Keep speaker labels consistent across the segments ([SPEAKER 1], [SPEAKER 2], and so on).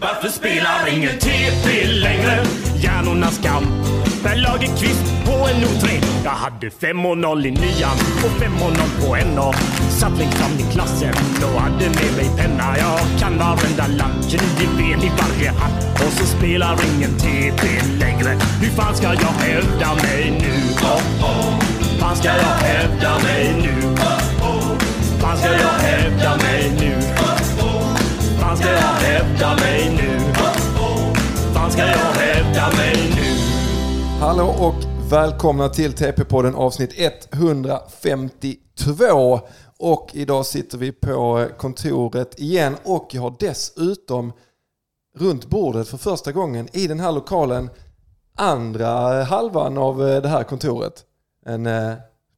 [SPEAKER 1] Varför spelar ingen TP längre? Hjärnornas kamp Per Lagerkvist på en O3 Jag hade 5.0 i nian och 5.0 på NA Satt längst fram i klassen och hade med mig penna Jag kan varenda land, nio ben i varje hand Och så spelar ingen TP längre Hur fan ska jag hävda mig nu? Oh, oh. Fan ska jag hävda mig nu? Oh, oh. Fan ska jag hävda mig nu? Oh, oh. Fan ska jag hävda mig nu? Oh, oh. Fan ska jag hävda mig nu?
[SPEAKER 2] Hallå och välkomna till TP-podden avsnitt 152. Och idag sitter vi på kontoret igen och jag har dessutom runt bordet för första gången i den här lokalen andra halvan av eh, det här kontoret. En eh,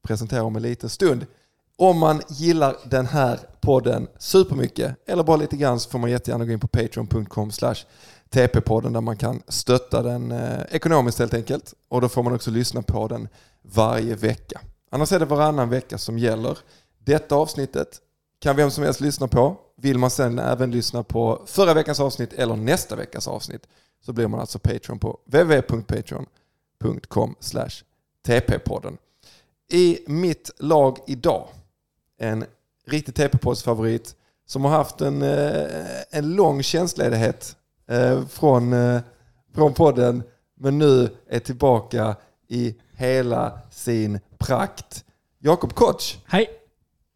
[SPEAKER 2] presenterar om en liten stund. Om man gillar den här podden supermycket eller bara lite grann så får man jättegärna gå in på patreon.com slash TP-podden där man kan stötta den eh, ekonomiskt helt enkelt. Och då får man också lyssna på den varje vecka. Annars är det varannan vecka som gäller. Detta avsnittet kan vem som helst lyssna på. Vill man sen även lyssna på förra veckans avsnitt eller nästa veckas avsnitt så blir man alltså Patreon på www.patreon.com TP-podden. I mitt lag idag, en riktig TP-poddsfavorit som har haft en, eh, en lång tjänstledighet eh, från, eh, från podden men nu är tillbaka i hela sin prakt. Jakob Koch,
[SPEAKER 3] Hej,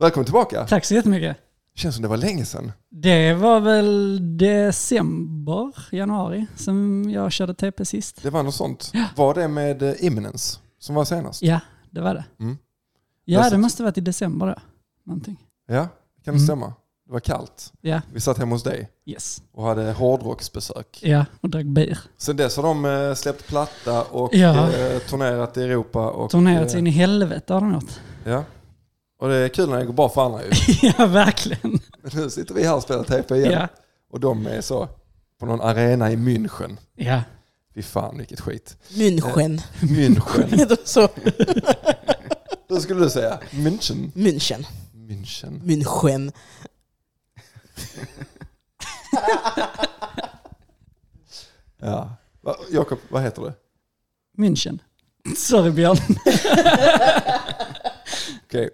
[SPEAKER 2] välkommen tillbaka.
[SPEAKER 3] tack så jättemycket.
[SPEAKER 2] Känns som det var länge sedan.
[SPEAKER 3] Det var väl december, januari, som jag körde TP sist.
[SPEAKER 2] Det var något sånt. Var det med eh, Imminence som var senast?
[SPEAKER 3] Ja, det var det.
[SPEAKER 2] Mm.
[SPEAKER 3] Ja,
[SPEAKER 2] Precis.
[SPEAKER 3] det måste varit i december då. Någonting.
[SPEAKER 2] Ja, kan det
[SPEAKER 3] Mm.
[SPEAKER 2] stämma? Det var kallt.
[SPEAKER 3] Ja,
[SPEAKER 2] Vi satt hemma hos dig
[SPEAKER 3] yes.
[SPEAKER 2] och hade hårdrocksbesök.
[SPEAKER 3] Ja, och drack bier.
[SPEAKER 2] Sen dess har de eh, släppt platta och
[SPEAKER 3] Ja.
[SPEAKER 2] eh, turnerat i Europa. Och,
[SPEAKER 3] Turnerat sig
[SPEAKER 2] eh,
[SPEAKER 3] in i helvete har de gjort.
[SPEAKER 2] Ja. Och det är kul när det går bra för andra ju.
[SPEAKER 3] ja, verkligen.
[SPEAKER 2] nu sitter vi här och spelar TP igen.
[SPEAKER 3] Ja.
[SPEAKER 2] Och de är så på någon arena i München.
[SPEAKER 3] ja.
[SPEAKER 2] Fy fan vilket skit.
[SPEAKER 4] München.
[SPEAKER 2] München.
[SPEAKER 4] Heter det så?
[SPEAKER 2] Då skulle du säga München.
[SPEAKER 4] München.
[SPEAKER 2] München.
[SPEAKER 4] München.
[SPEAKER 2] Ja. Va- Jakob, vad heter du?
[SPEAKER 3] München. Sorry Björn.
[SPEAKER 2] Okej.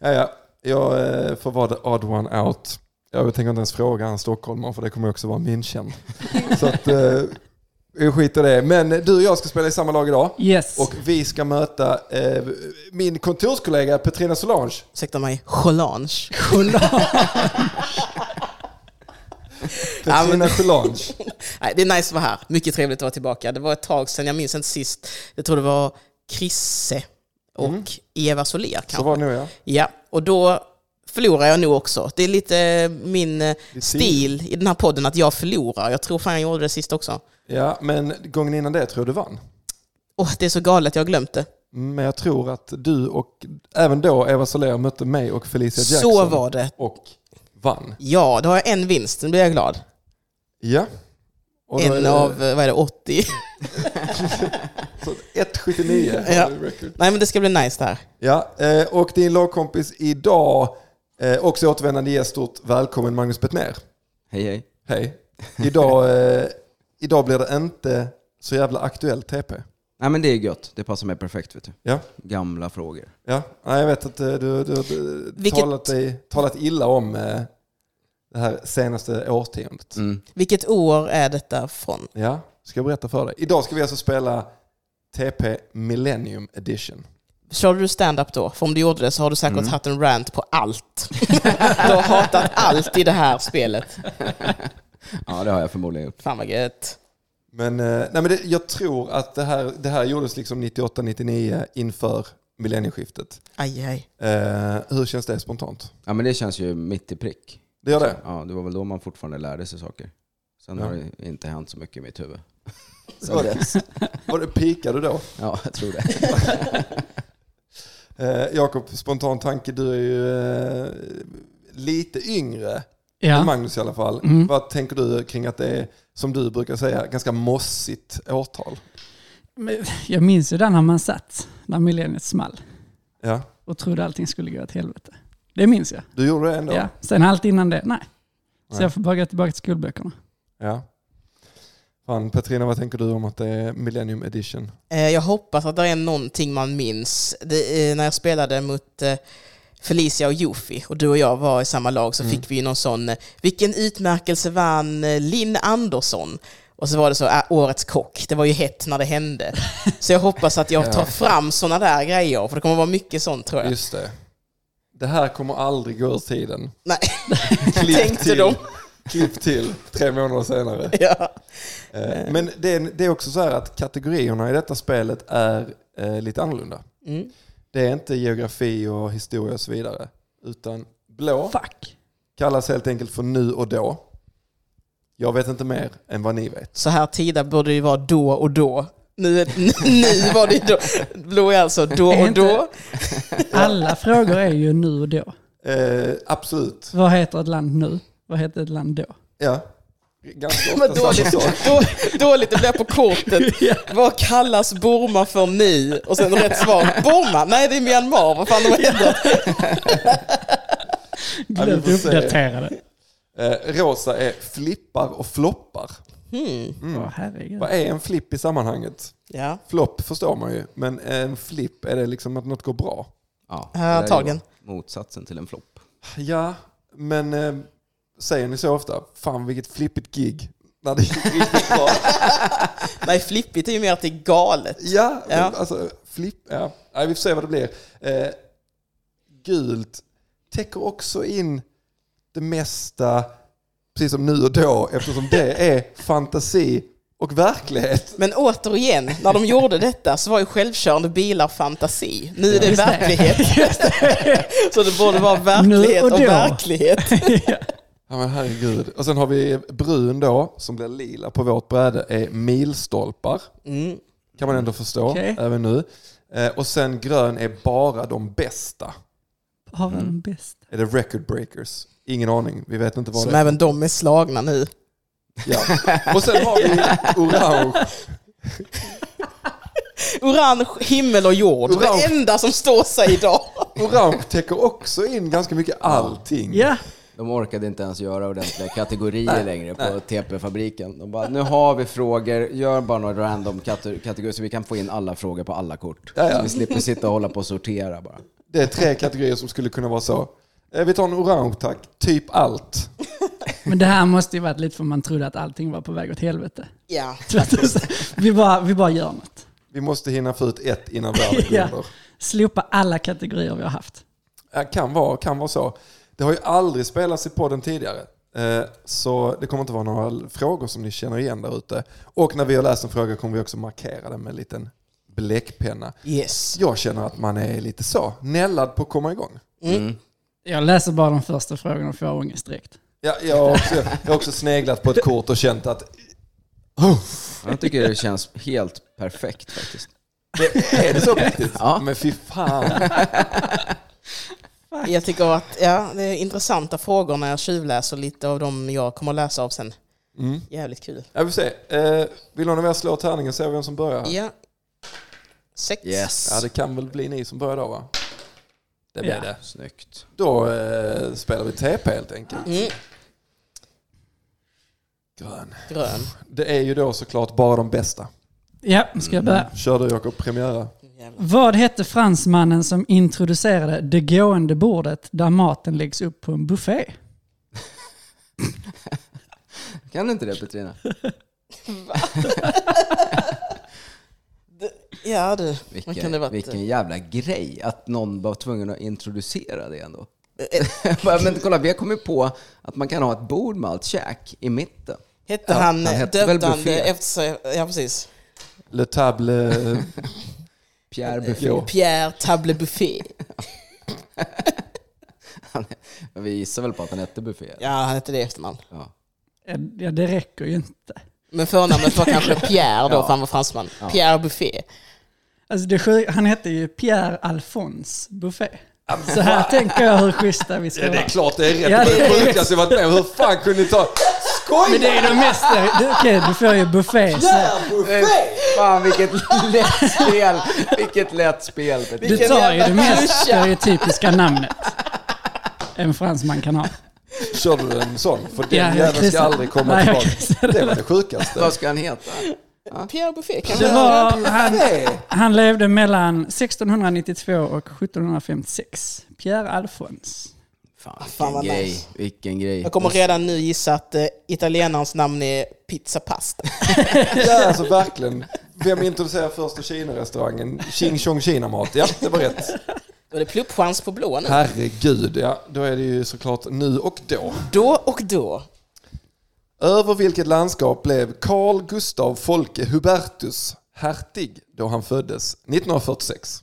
[SPEAKER 2] Ja, ja. Jag eh, får vara the odd one out. Jag tänker inte ens fråga en stockholmare för det kommer också vara min känn. Så att, eh, jag skiter i det. Men du och jag ska spela i samma lag idag.
[SPEAKER 3] Yes.
[SPEAKER 2] Och vi ska möta eh, min kontorskollega Petrina Solange.
[SPEAKER 4] Ursäkta mig. Solange. Ja,
[SPEAKER 2] Petrina
[SPEAKER 4] men-
[SPEAKER 2] Solange.
[SPEAKER 4] Nej, det är nice att vara här. Mycket trevligt att vara tillbaka. Det var ett tag sedan, jag minns inte sist. Jag tror det var Krisse och Eva Soler kanske.
[SPEAKER 2] Mm. Så var det nu ja.
[SPEAKER 4] Ja, och då förlorar jag nog också. Det är lite min eh,
[SPEAKER 2] Ditt
[SPEAKER 4] stil i den här podden att jag förlorar. Jag tror fan jag gjorde det sist också.
[SPEAKER 2] Ja, men gången innan det tror jag du vann.
[SPEAKER 4] Åh, det är så galet, jag har glömt det.
[SPEAKER 2] Men jag tror att du och även då Eva Soler mötte mig och Felicia Jackson.
[SPEAKER 4] Så var det.
[SPEAKER 2] Och vann.
[SPEAKER 4] Ja, då har jag en vinst, nu blir jag glad.
[SPEAKER 2] Ja. Och då är
[SPEAKER 4] En
[SPEAKER 2] det-
[SPEAKER 4] av, eh, vad är det, 80?
[SPEAKER 2] Så 1,79 har
[SPEAKER 4] Ja.
[SPEAKER 2] du record.
[SPEAKER 4] Nej, men det ska bli nice det här.
[SPEAKER 2] Ja, eh, och din lagkompis idag, eh, också återvändande gäst, stort välkommen Magnus Bettner.
[SPEAKER 5] Hej hej.
[SPEAKER 2] Hej. Idag, eh, idag blir det inte så jävla aktuell TP.
[SPEAKER 5] Nej men det är gött, det passar mig perfekt vet du.
[SPEAKER 2] Ja,
[SPEAKER 5] Gamla frågor.
[SPEAKER 2] ja. Nej, jag vet att eh, du, du, du
[SPEAKER 4] Vilket-
[SPEAKER 2] talat, dig, talat illa om eh, det här senaste årtiondet.
[SPEAKER 5] Mm.
[SPEAKER 4] Vilket år är detta från?
[SPEAKER 2] Ja, ska jag berätta för dig. Idag ska vi alltså spela TP Millennium Edition.
[SPEAKER 4] Körde du stand-up då? För om du gjorde det så har du säkert
[SPEAKER 5] Mm.
[SPEAKER 4] haft en rant på allt. du har hatat allt i det här spelet.
[SPEAKER 5] Ja det har jag förmodligen gjort.
[SPEAKER 4] Fan vad gött.
[SPEAKER 2] Men, eh, nej, men det, jag tror att det här, det här gjordes liksom 98-99 inför millennieskiftet.
[SPEAKER 4] Aj, aj.
[SPEAKER 2] Eh, hur känns det spontant?
[SPEAKER 5] Ja men det känns ju mitt i prick.
[SPEAKER 2] Det gör det?
[SPEAKER 5] Ja det var väl då man fortfarande lärde sig saker. Sen
[SPEAKER 2] Ja.
[SPEAKER 5] har det inte hänt så mycket i mitt huvud.
[SPEAKER 2] Var det, var det pikade då?
[SPEAKER 5] Ja jag tror det.
[SPEAKER 2] Eh, Jakob, spontan tanke, du är ju eh, lite yngre än
[SPEAKER 3] ja.
[SPEAKER 2] Magnus i alla fall.
[SPEAKER 3] Mm.
[SPEAKER 2] Vad tänker du kring att det är, som du brukar säga, ganska mossigt årtal?
[SPEAKER 3] Men Jag minns ju den när man satt, när millenniet small
[SPEAKER 2] Ja,
[SPEAKER 3] och trodde allting skulle gå åt helvete. Det minns jag.
[SPEAKER 2] du gjorde det ändå?
[SPEAKER 3] Ja. Sen allt innan det, nej. Så
[SPEAKER 2] Nej.
[SPEAKER 3] jag får bara gå tillbaka till skolböckerna.
[SPEAKER 2] Ja. Fan, Petrina, vad tänker du om att det är Millennium Edition?
[SPEAKER 4] Eh, Jag hoppas att det är någonting man minns. Det, eh, när jag spelade mot eh, Felicia och Jofi och du och jag var i samma lag så fick vi ju någon sån, eh, vilken utmärkelse vann eh, Linn Andersson? Och så var det så, "Äh, årets kock. Det var ju hett när det hände. Så jag hoppas att jag tar fram sådana där grejer, för det kommer vara mycket sånt tror jag.
[SPEAKER 2] Just det. Det här kommer aldrig gå ur tiden.
[SPEAKER 4] Nej,
[SPEAKER 2] Klipp
[SPEAKER 4] Tänkte
[SPEAKER 2] till.
[SPEAKER 4] de.
[SPEAKER 2] Klipp till, tre månader senare.
[SPEAKER 4] ja.
[SPEAKER 2] Eh, Men det är, det är också så här att kategorierna i detta spelet är eh, lite annorlunda.
[SPEAKER 4] Mm.
[SPEAKER 2] Det är inte geografi och historia och så vidare. Utan blå
[SPEAKER 3] Fuck.
[SPEAKER 2] kallas helt enkelt för nu och då. Jag vet inte mer än vad ni vet.
[SPEAKER 4] Så här tida borde det ju vara då och då. Nu, är- nu var det ju då. Blå är alltså då
[SPEAKER 3] Är
[SPEAKER 4] och
[SPEAKER 3] inte-
[SPEAKER 4] då.
[SPEAKER 3] Alla frågor är ju nu och då.
[SPEAKER 2] Eh, absolut.
[SPEAKER 3] Vad heter ett land nu? Vad heter ett land då?
[SPEAKER 2] Ja. Ganska
[SPEAKER 4] Men
[SPEAKER 2] ofta samma
[SPEAKER 4] dåligt,
[SPEAKER 2] sak.
[SPEAKER 4] då, dåligt det blir på kortet. Vad kallas Burma för nu? Och sen rätt svar. Burma? Nej, det är Myanmar. Vad fan de har ändrat.
[SPEAKER 3] Glömt
[SPEAKER 2] får se.
[SPEAKER 3] uppdaterade.
[SPEAKER 2] Eh, rosa är flippar och floppar.
[SPEAKER 3] Åh, herregud.
[SPEAKER 2] Mm. Vad är en flipp i sammanhanget?
[SPEAKER 4] Ja,
[SPEAKER 2] Flopp förstår man ju, men eh, en flipp är det liksom att något går bra.
[SPEAKER 5] Ja,
[SPEAKER 4] Ja,
[SPEAKER 5] det där är ju
[SPEAKER 4] tagen.
[SPEAKER 5] Motsatsen till en flopp.
[SPEAKER 2] Ja, men eh, säger ni så ofta? Fan vilket flippigt gig. När det gick riktigt bra.
[SPEAKER 4] nej flippigt är ju mer att det är galet.
[SPEAKER 2] Ja, men
[SPEAKER 4] Ja.
[SPEAKER 2] alltså flipp. Ja. Nej, vi får se vad det blir. Eh, gult täcker också in det mesta, precis som nu och då, eftersom det är fantasi och verklighet.
[SPEAKER 4] Men återigen, när de gjorde detta så var ju självkörande bilar fantasi. Nu är det
[SPEAKER 3] Just det.
[SPEAKER 4] verklighet. Så det borde vara
[SPEAKER 3] Nu
[SPEAKER 4] verklighet
[SPEAKER 3] och
[SPEAKER 4] och,
[SPEAKER 3] då.
[SPEAKER 4] verklighet.
[SPEAKER 2] Ja men herregud. Och sen har vi brun då, som blir lila på vårt bräde, är milstolpar.
[SPEAKER 4] Mm.
[SPEAKER 2] Kan man ändå förstå,
[SPEAKER 3] Okej.
[SPEAKER 2] även nu. Eh, och sen grön är bara de bästa.
[SPEAKER 3] Har den bäst?
[SPEAKER 2] Är det record breakers? Ingen aning, vi vet inte vad
[SPEAKER 4] Som
[SPEAKER 2] det är.
[SPEAKER 4] även de är slagna nu.
[SPEAKER 2] Ja. Och sen har vi orange.
[SPEAKER 4] Orange, himmel och jord.
[SPEAKER 2] Orange.
[SPEAKER 4] Det enda som står sig idag.
[SPEAKER 2] Orange täcker också in ganska mycket allting.
[SPEAKER 3] Ja,
[SPEAKER 5] De orkade inte ens göra ordentliga kategorier längre på TP-fabriken. De bara, nu har vi frågor, gör bara några random kate- kategorier så vi kan få in alla frågor på alla kort.
[SPEAKER 2] Ja, ja.
[SPEAKER 5] Så vi slipper sitta och hålla på och sortera bara.
[SPEAKER 2] Det är tre kategorier som skulle kunna vara så. Eh, Vi tar en orange tack, typ allt.
[SPEAKER 3] men det här måste ju varit lite för man trodde att allting var på väg åt helvete.
[SPEAKER 4] Ja.
[SPEAKER 3] vi, bara, vi bara gör något.
[SPEAKER 2] Vi måste hinna få ut ett innan världen
[SPEAKER 3] Ja.
[SPEAKER 2] går under.
[SPEAKER 3] Slopa alla kategorier vi har haft.
[SPEAKER 2] Ja, kan vara, kan vara så. Det har ju aldrig spelats i podden tidigare. Eh, Så det kommer inte vara några frågor som ni känner igen där ute. Och när vi har läst en fråga kommer vi också markera den med en liten bläckpenna.
[SPEAKER 4] Yes.
[SPEAKER 2] Jag känner att man är lite så, nällad på att komma igång.
[SPEAKER 3] Jag läser bara de första frågorna och får ångest direkt.
[SPEAKER 2] Ja, jag, har också, jag har också sneglat på ett kort och känt att
[SPEAKER 5] Jag tycker det känns helt perfekt faktiskt.
[SPEAKER 2] är det så på riktigt?
[SPEAKER 5] Ja.
[SPEAKER 2] Men fy fan.
[SPEAKER 4] Jag tycker att ja, det är intressanta frågor när jag tjuvläser lite av dem jag kommer att läsa av sen.
[SPEAKER 2] Mm.
[SPEAKER 4] Jävligt kul.
[SPEAKER 2] Jag vill se. Eh, Vill någon av er slå tärningen så ser vi vem som börjar? här?
[SPEAKER 4] Ja. Sex.
[SPEAKER 5] Yes!
[SPEAKER 2] Ja, det kan väl bli ni som börjar då va? Det blir
[SPEAKER 3] Ja.
[SPEAKER 2] det.
[SPEAKER 5] Snyggt.
[SPEAKER 2] Då eh, spelar vi TP helt enkelt.
[SPEAKER 4] Mm.
[SPEAKER 2] Grön.
[SPEAKER 4] Grön.
[SPEAKER 2] Det är ju då såklart bara de bästa.
[SPEAKER 3] Ja, nu ska jag börja.
[SPEAKER 2] Kör du Jakob, premiära.
[SPEAKER 4] Jävlar.
[SPEAKER 3] Vad hette fransmannen som introducerade det gående bordet där maten läggs upp på en buffé?
[SPEAKER 5] Kan du inte det Petrina?
[SPEAKER 4] Ja du,
[SPEAKER 5] Vilken,
[SPEAKER 4] vad kan det vara?
[SPEAKER 5] vilken jävla grej att någon var tvungen att introducera det ändå.
[SPEAKER 4] Eh,
[SPEAKER 5] Bara, Men kolla, vi har kommit på att man kan ha ett bord med allt käk i mitten.
[SPEAKER 4] Hette
[SPEAKER 5] Ja,
[SPEAKER 4] han,
[SPEAKER 5] han
[SPEAKER 4] han
[SPEAKER 5] hette väl
[SPEAKER 4] döpte han
[SPEAKER 5] Buffé.
[SPEAKER 4] det efter sig? Ja precis.
[SPEAKER 2] Le table... eh,
[SPEAKER 5] Pierre
[SPEAKER 2] Jo.
[SPEAKER 5] Buffet.
[SPEAKER 4] Pierre Table Buffé.
[SPEAKER 5] Men Vi gissar väl på att han hette Buffet?
[SPEAKER 4] Ja, han hette det i efternamn.
[SPEAKER 5] Ja.
[SPEAKER 3] Eh, Ja, det räcker ju inte.
[SPEAKER 4] Men förnamnet var kanske Pierre då, för han var fransman. Pierre Buffé.
[SPEAKER 3] Alltså det sjuka, han hette ju Pierre Alphonse Buffet. Så här tänker jag hur schyssta vi ska
[SPEAKER 2] Ja, det
[SPEAKER 3] vara.
[SPEAKER 2] är klart det är rätt.
[SPEAKER 3] Ja,
[SPEAKER 2] det
[SPEAKER 3] det
[SPEAKER 2] är
[SPEAKER 3] är
[SPEAKER 2] det sjukaste jag varit med om. Hur fan kunde ni ta...
[SPEAKER 3] Men det är det mesta. Du, okej, du får ju buffé. Så
[SPEAKER 5] Fan vilket lätt spel! Vilket lätt spel Petrina.
[SPEAKER 3] du tar ju det mest stereotypiska namnet en fransman kan ha.
[SPEAKER 2] Körde du en sån? För den
[SPEAKER 3] Ja, jag
[SPEAKER 2] jäveln ska
[SPEAKER 3] kryssade.
[SPEAKER 2] aldrig komma
[SPEAKER 3] Nej, jag
[SPEAKER 2] tillbaka.
[SPEAKER 3] kryssade.
[SPEAKER 2] Det var det sjukaste.
[SPEAKER 5] Vad ska han heta?
[SPEAKER 4] Pierre Buffet kanske?
[SPEAKER 3] Det var, han,
[SPEAKER 2] Nej.
[SPEAKER 3] han levde mellan 1692 och 1756. Pierre Alphonse.
[SPEAKER 5] Fan, vilken
[SPEAKER 4] Fan, vad
[SPEAKER 5] grej.
[SPEAKER 4] nice.
[SPEAKER 5] Vilken grej.
[SPEAKER 4] Jag kommer redan nu gissa att eh, italienarens namn är pizza pasta.
[SPEAKER 2] Ja, alltså verkligen. Vem introducerar första Kina-restaurangen? Ching Chong Kina-mat. Ja, det var rätt.
[SPEAKER 4] Då är det pluppchans på blå nu.
[SPEAKER 2] Herregud, ja. Då är det ju såklart nu och då.
[SPEAKER 4] Då och då.
[SPEAKER 2] Över vilket landskap blev Carl Gustav Folke Hubertus hertig då han föddes 1946?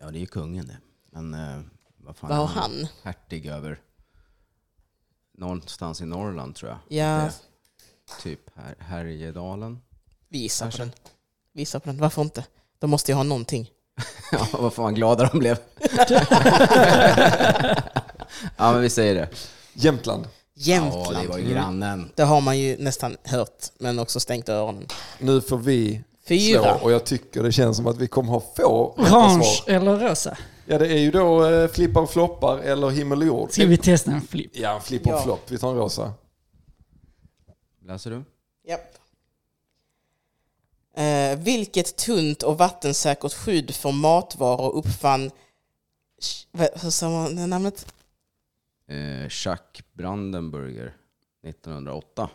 [SPEAKER 5] Ja, det är ju kungen det. Men eh, vad fan
[SPEAKER 4] Vad har
[SPEAKER 5] är
[SPEAKER 4] han?
[SPEAKER 5] Hertig över någonstans i Norrland tror jag.
[SPEAKER 4] Ja.
[SPEAKER 5] Det, typ här, Härjedalen.
[SPEAKER 4] Visa på den. Visa på den. Varför inte? De måste ju ha någonting.
[SPEAKER 5] Ja, vad fan glada de blev. ja, men vi säger det.
[SPEAKER 2] Jämtland.
[SPEAKER 4] Jämtland.
[SPEAKER 5] Ja, det var ju grannen.
[SPEAKER 4] Det har man ju nästan hört, men också stängt öronen.
[SPEAKER 2] Nu får vi
[SPEAKER 4] Fyra.
[SPEAKER 2] slå och jag tycker det känns som att vi kommer ha få rätta
[SPEAKER 3] Orange
[SPEAKER 2] svar.
[SPEAKER 3] eller rosa?
[SPEAKER 2] Ja, det är ju då eh, flippar och floppar eller himmel och jord.
[SPEAKER 3] Ska vi testa en flipp?
[SPEAKER 2] Ja, en flipp och
[SPEAKER 4] Ja.
[SPEAKER 2] flopp. Vi tar en rosa.
[SPEAKER 5] Läser du?
[SPEAKER 4] Japp. Eh, vilket tunt och vattensäkert skydd för matvaror uppfann... Sh- vad- Hur sa man namnet?
[SPEAKER 5] Eh, Chuck Brandenburger 1908.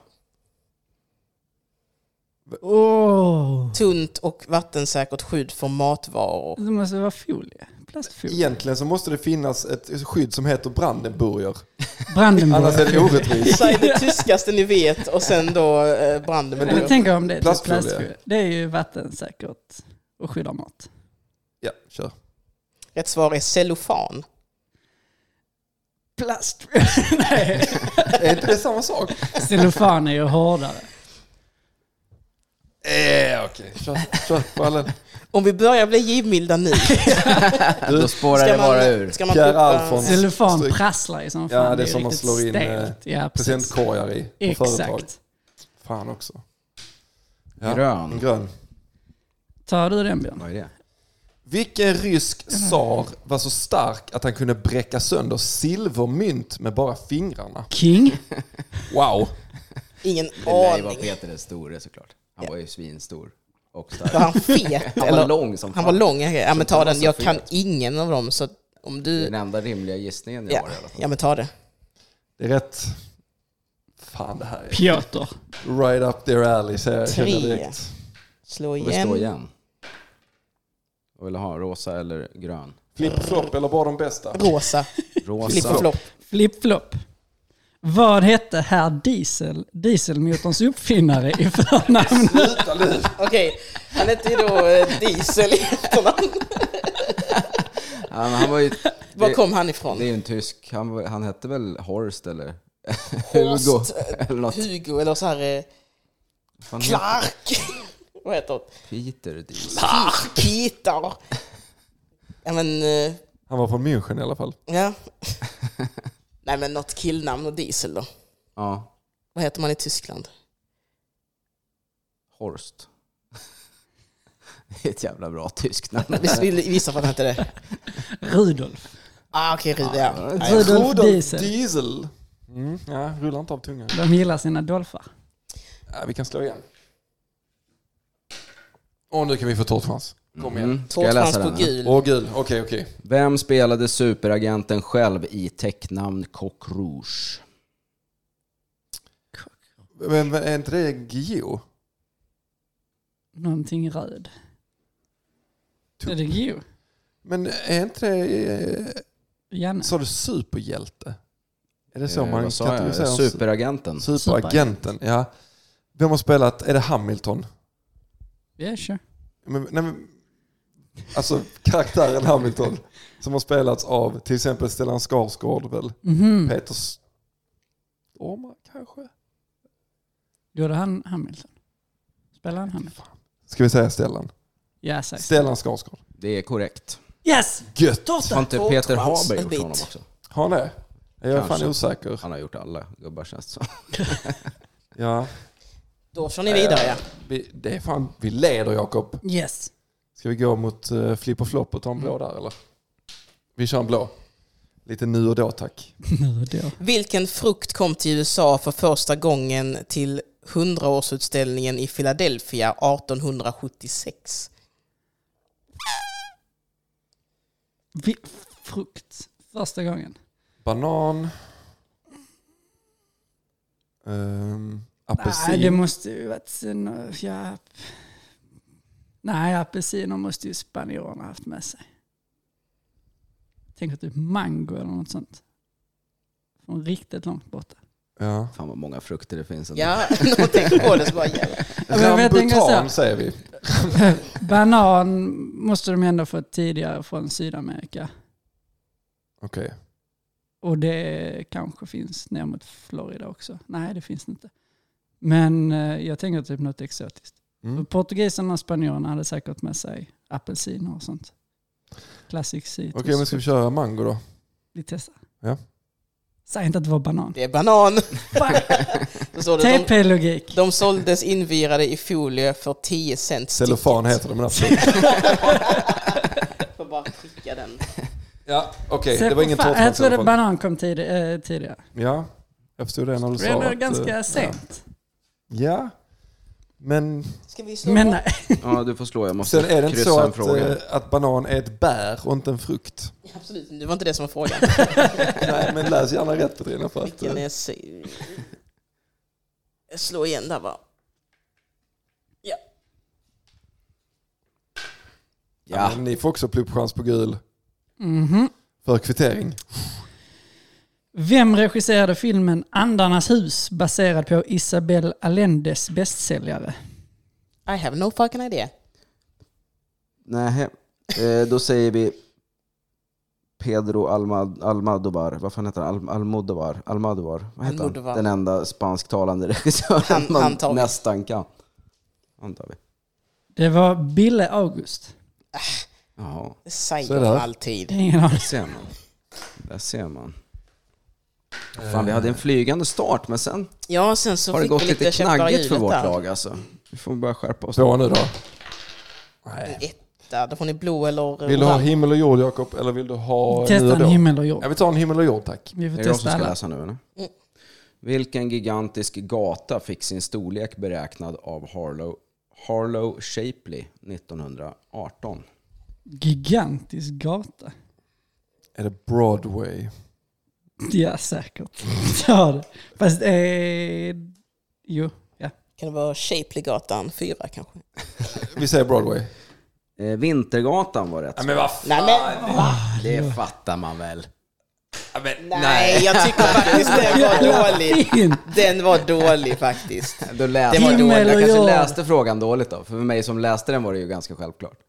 [SPEAKER 3] Åh!
[SPEAKER 4] Tunt och vattensäkert skydd för matvaror.
[SPEAKER 3] Det måste vara folie. Plastfolie.
[SPEAKER 2] Egentligen så måste det finnas ett skydd som heter Brandenburger. Annars är
[SPEAKER 3] Brandenburg.
[SPEAKER 2] det orättvist.
[SPEAKER 4] Säg det tyskaste ni vet och sen då eh, Brandenburg.
[SPEAKER 3] Jag tänker om det är typ
[SPEAKER 2] Plastfolie.
[SPEAKER 3] plastfolie. Det är ju vattensäkert och skyddar mat.
[SPEAKER 2] Ja, kör.
[SPEAKER 4] Rätt svar är cellofan.
[SPEAKER 3] Plast... Nej,
[SPEAKER 2] Är inte det samma sak?
[SPEAKER 3] cellofan är ju hårdare.
[SPEAKER 2] Eh, okej. Kör, kör ballen.
[SPEAKER 4] Om vi börjar bli givmilda nu.
[SPEAKER 5] Då spårar det bara ur.
[SPEAKER 4] ska man
[SPEAKER 2] Pierre
[SPEAKER 4] pluppa-
[SPEAKER 2] Alfons.
[SPEAKER 3] Cellofan
[SPEAKER 2] Stryk.
[SPEAKER 3] prasslar ju som
[SPEAKER 2] Ja,
[SPEAKER 3] fan.
[SPEAKER 2] det är
[SPEAKER 3] ju
[SPEAKER 2] som man
[SPEAKER 3] riktigt
[SPEAKER 2] slår in,
[SPEAKER 3] stelt. Ja, precis.
[SPEAKER 2] Presentkorgar i på företag.
[SPEAKER 3] Exakt.
[SPEAKER 2] Fan också.
[SPEAKER 5] Grön.
[SPEAKER 2] Grön.
[SPEAKER 3] Tar du den Björn?
[SPEAKER 5] Vad är det?
[SPEAKER 2] Vilken rysk
[SPEAKER 3] Mm.
[SPEAKER 2] tsar var så stark att han kunde bräcka sönder silvermynt med bara fingrarna?
[SPEAKER 3] King?
[SPEAKER 2] Wow.
[SPEAKER 4] Ingen
[SPEAKER 5] Det lär ju vara
[SPEAKER 4] aning.
[SPEAKER 5] Peter den store såklart. Han var ju svinstor. Och stark.
[SPEAKER 4] Var han fet?
[SPEAKER 5] Han var lång som
[SPEAKER 4] Han
[SPEAKER 5] fan.
[SPEAKER 4] var lång. ja, Ja, men ta
[SPEAKER 5] han var
[SPEAKER 4] den.
[SPEAKER 5] så
[SPEAKER 4] Jag
[SPEAKER 5] fet.
[SPEAKER 4] kan ingen av dem. Så att om du...
[SPEAKER 5] Den enda rimliga gissningen jag
[SPEAKER 4] Ja,
[SPEAKER 5] har i alla fall.
[SPEAKER 4] ja men ta det.
[SPEAKER 2] Det är rätt. Fan det här är
[SPEAKER 3] Piotr.
[SPEAKER 2] right up their alley säger jag
[SPEAKER 4] Tre.
[SPEAKER 2] känner direkt.
[SPEAKER 4] Slå
[SPEAKER 5] Och vi står
[SPEAKER 4] igen.
[SPEAKER 5] igen. Och vill ha rosa eller grön?
[SPEAKER 2] Flipp flopp eller bara de bästa?
[SPEAKER 4] Rosa. Flipp och
[SPEAKER 5] Rosa.
[SPEAKER 4] flopp.
[SPEAKER 3] Flip-flop. Vad hette herr Diesel, dieselmotorns uppfinnare i förnamn?
[SPEAKER 2] Sluta nu.
[SPEAKER 4] Okej, han hette ju då eh, Diesel i efternamn.
[SPEAKER 5] Ja, men han var ju...
[SPEAKER 4] Var
[SPEAKER 5] det,
[SPEAKER 4] kom han ifrån?
[SPEAKER 5] det är ju en tysk. Han, var- han hette väl Horst eller Hugo? Eller något.
[SPEAKER 4] Hugo eller så här eh,
[SPEAKER 5] Vad fan heter
[SPEAKER 4] Clark.
[SPEAKER 5] Mm.
[SPEAKER 4] Vad heter det?
[SPEAKER 5] Peter Diesel.
[SPEAKER 4] Clark. Peter. Ja men, eh,
[SPEAKER 2] Han var från München i alla fall.
[SPEAKER 4] ja. Nej men något killnamn och Diesel då.
[SPEAKER 5] Ja,
[SPEAKER 4] Vad heter man i Tyskland?
[SPEAKER 5] Horst. Det är ett jävla bra tyskt namn.
[SPEAKER 4] Visst vill gissa på att han hette det?
[SPEAKER 3] Rudolf.
[SPEAKER 4] Ah okej, Rudi ja.
[SPEAKER 3] Rudolf Diesel.
[SPEAKER 2] Diesel. Mm, ja, rullar inte av tungan.
[SPEAKER 3] De gillar sina dolfar.
[SPEAKER 2] Ja, vi kan slå igen. Och nu kan vi få tårtchans. Kom igen.
[SPEAKER 5] Mm. Ska jag läsa
[SPEAKER 4] Tårtchans på
[SPEAKER 5] den? här?
[SPEAKER 4] gul.
[SPEAKER 2] Åh gud, okej okej.
[SPEAKER 5] Vem spelade superagenten själv i tecknamn Coq Rouge?
[SPEAKER 2] Men men är inte det Guillou?
[SPEAKER 3] Någonting röd.
[SPEAKER 2] Tupp.
[SPEAKER 3] Är det Gio?
[SPEAKER 2] Men är inte det... eh,
[SPEAKER 3] Janne?
[SPEAKER 2] Sa du superhjälte? Är det så
[SPEAKER 5] Eh,
[SPEAKER 2] man
[SPEAKER 5] vad sa jag?
[SPEAKER 2] kategoriserar? en
[SPEAKER 5] Superagenten.
[SPEAKER 2] su- Superagenten, ja. Vem har spelat... Är det Hamilton?
[SPEAKER 3] Ja, sure.
[SPEAKER 2] Men, nej, men, alltså karaktären Hamilton som har spelats av till exempel Stellan Skarsgård väl?
[SPEAKER 3] Mhm.
[SPEAKER 2] Peter Stormare kanske?
[SPEAKER 3] Gjorde han Hamilton? Spelade han Hamilton?
[SPEAKER 2] Ska vi säga Stellan?
[SPEAKER 3] Ja, säkert.
[SPEAKER 2] Stellan Skarsgård.
[SPEAKER 5] Det är korrekt.
[SPEAKER 3] Yes!
[SPEAKER 2] Gött!
[SPEAKER 5] Har inte Peter
[SPEAKER 4] Tårtchans,
[SPEAKER 5] Haber
[SPEAKER 4] en
[SPEAKER 5] gjort
[SPEAKER 4] bit.
[SPEAKER 5] honom också?
[SPEAKER 2] Har han det? Jag är
[SPEAKER 5] Kanske.
[SPEAKER 2] fan osäker.
[SPEAKER 5] Han har gjort alla gubbar känns det som.
[SPEAKER 2] Ja.
[SPEAKER 4] Då kör ni vidare ja.
[SPEAKER 2] Vi, det är fan, vi leder Jakob.
[SPEAKER 3] Yes.
[SPEAKER 2] eh, Ska vi gå mot uh, flipp och flopp och ta en blå där eller? Vi kör en blå. Lite nu och då tack.
[SPEAKER 3] Nu och då.
[SPEAKER 4] Vilken frukt kom till USA för första gången till 100-årsutställningen i Philadelphia 1876?
[SPEAKER 3] Vi, frukt. Första gången.
[SPEAKER 2] Banan. Ehm, apelsin.
[SPEAKER 3] Nej, det måste ju varit... sen- Ja. Nej, apelsiner måste ju spanjorerna haft med sig. Tänker typ mango eller något sånt. Från riktigt långt borta.
[SPEAKER 2] ja.
[SPEAKER 5] Fan vad många frukter det finns. ändå.
[SPEAKER 4] Ja, när man tänker på det så bara jävlar.
[SPEAKER 3] men jag tänker så här-
[SPEAKER 2] Rambutan säger vi. Mm.
[SPEAKER 3] Banan måste de ändå fått tidigare från Sydamerika.
[SPEAKER 2] Okej.
[SPEAKER 3] Och det kanske finns ner mot Florida också. Nej, det finns det inte. Men eh, jag tänker typ något exotiskt.
[SPEAKER 2] Mm.
[SPEAKER 3] Portugiserna och spanjorerna hade säkert med sig apelsiner och sånt. Classic citrus.
[SPEAKER 2] Okej, men ska vi köra mango då?
[SPEAKER 3] Vi testar.
[SPEAKER 2] Ja.
[SPEAKER 3] Säg inte att det var banan.
[SPEAKER 4] Det är banan.
[SPEAKER 3] Fuck.
[SPEAKER 4] Då står det,
[SPEAKER 3] Typ.
[SPEAKER 4] de,
[SPEAKER 3] TP-logik.
[SPEAKER 4] de såldes invirade i folie för 10 cent styck.
[SPEAKER 2] Cellofan heter de. men alltså. absolut.
[SPEAKER 4] Får bara skicka den.
[SPEAKER 2] Ja, okej.
[SPEAKER 3] Se
[SPEAKER 2] Det var
[SPEAKER 3] på
[SPEAKER 2] ingen
[SPEAKER 3] fan,
[SPEAKER 2] tårta.
[SPEAKER 3] Jag trodde
[SPEAKER 2] cellofan.
[SPEAKER 3] banan kom tid, eh, tidigare.
[SPEAKER 2] Ja, jag förstod det när du sa
[SPEAKER 3] Det var
[SPEAKER 2] att, eh,
[SPEAKER 3] ganska sent.
[SPEAKER 2] Ja, men
[SPEAKER 4] Ska vi slå
[SPEAKER 3] Men
[SPEAKER 4] på?
[SPEAKER 3] nej.
[SPEAKER 5] Ja, du får slå. Jag måste
[SPEAKER 2] sen är det inte
[SPEAKER 5] kryssa
[SPEAKER 2] så
[SPEAKER 5] en
[SPEAKER 2] att,
[SPEAKER 5] fråga.
[SPEAKER 2] eh, att banan är ett bär och inte en frukt.
[SPEAKER 4] Absolut, det var inte det som var frågan.
[SPEAKER 2] Nej, men läs gärna rätt Petrina. För att,
[SPEAKER 4] Vilken
[SPEAKER 2] eh,
[SPEAKER 4] är... sy- Jag slår igen där bara. Ja.
[SPEAKER 2] ja.
[SPEAKER 5] Ja,
[SPEAKER 2] men ni får också pluppchans på gul
[SPEAKER 3] Mhm.
[SPEAKER 2] för kvittering.
[SPEAKER 3] Vem regisserade filmen Andarnas hus baserad på Isabel Allendes bästsäljare?
[SPEAKER 4] I have no fucking idea.
[SPEAKER 5] nej. Eh, då säger vi Pedro Alma- Almodovar. Vad fan heter han? Al- Almodovar? Almodovar. Vad heter
[SPEAKER 4] Almodovar.
[SPEAKER 5] han? Den enda spansktalande regissören
[SPEAKER 4] Han-
[SPEAKER 5] man
[SPEAKER 4] han tar vi.
[SPEAKER 5] nästan kan. Han tar vi.
[SPEAKER 3] Det var Bille August.
[SPEAKER 5] Jaha,
[SPEAKER 4] Det säger
[SPEAKER 2] Så är
[SPEAKER 4] de
[SPEAKER 2] det.
[SPEAKER 4] alltid.
[SPEAKER 3] Ingen aning.
[SPEAKER 5] där ser man. Där ser man. Fan, vi hade en flygande start, men sen
[SPEAKER 4] Ja, sen så
[SPEAKER 5] har det
[SPEAKER 4] fick vi
[SPEAKER 5] gått
[SPEAKER 4] lite,
[SPEAKER 5] lite
[SPEAKER 4] käppar i
[SPEAKER 5] knaggigt för
[SPEAKER 4] hjulet
[SPEAKER 5] vårt
[SPEAKER 4] där.
[SPEAKER 5] lag alltså. Vi får bara skärpa oss.
[SPEAKER 2] Så Eh, nu då.
[SPEAKER 4] En Etta, då får ni blå eller
[SPEAKER 2] Vill du ha
[SPEAKER 4] orange.
[SPEAKER 2] himmel och jord Jakob eller vill du ha nu
[SPEAKER 3] Testa
[SPEAKER 2] och
[SPEAKER 3] en
[SPEAKER 2] då?
[SPEAKER 3] himmel och jord.
[SPEAKER 2] Ja, vi tar en himmel och jord tack.
[SPEAKER 3] Vi får
[SPEAKER 5] Är det jag
[SPEAKER 3] testa
[SPEAKER 5] som ska
[SPEAKER 3] alla.
[SPEAKER 5] läsa nu eller? Vilken gigantisk gata fick sin storlek beräknad av Harlow, Harlow Shapley 1918?
[SPEAKER 3] Gigantisk gata.
[SPEAKER 2] Är det Broadway?
[SPEAKER 3] Ja, säkert. Ta det. Fast, eh, jo, ja.
[SPEAKER 4] Kan det vara Shapley-gatan 4 kanske?
[SPEAKER 2] Vi säger Broadway.
[SPEAKER 5] Eh, Vintergatan var rätt.
[SPEAKER 2] men vad
[SPEAKER 4] Nej, men,
[SPEAKER 5] Det fattar man väl?
[SPEAKER 4] nej, jag tycker faktiskt den var dålig.
[SPEAKER 3] Fint.
[SPEAKER 4] Den var dålig faktiskt.
[SPEAKER 5] Då läste
[SPEAKER 4] Det var
[SPEAKER 5] jag,
[SPEAKER 3] dåligt.
[SPEAKER 5] jag kanske
[SPEAKER 3] Ja.
[SPEAKER 5] läste frågan dåligt då. För mig som läste den var det ju ganska självklart.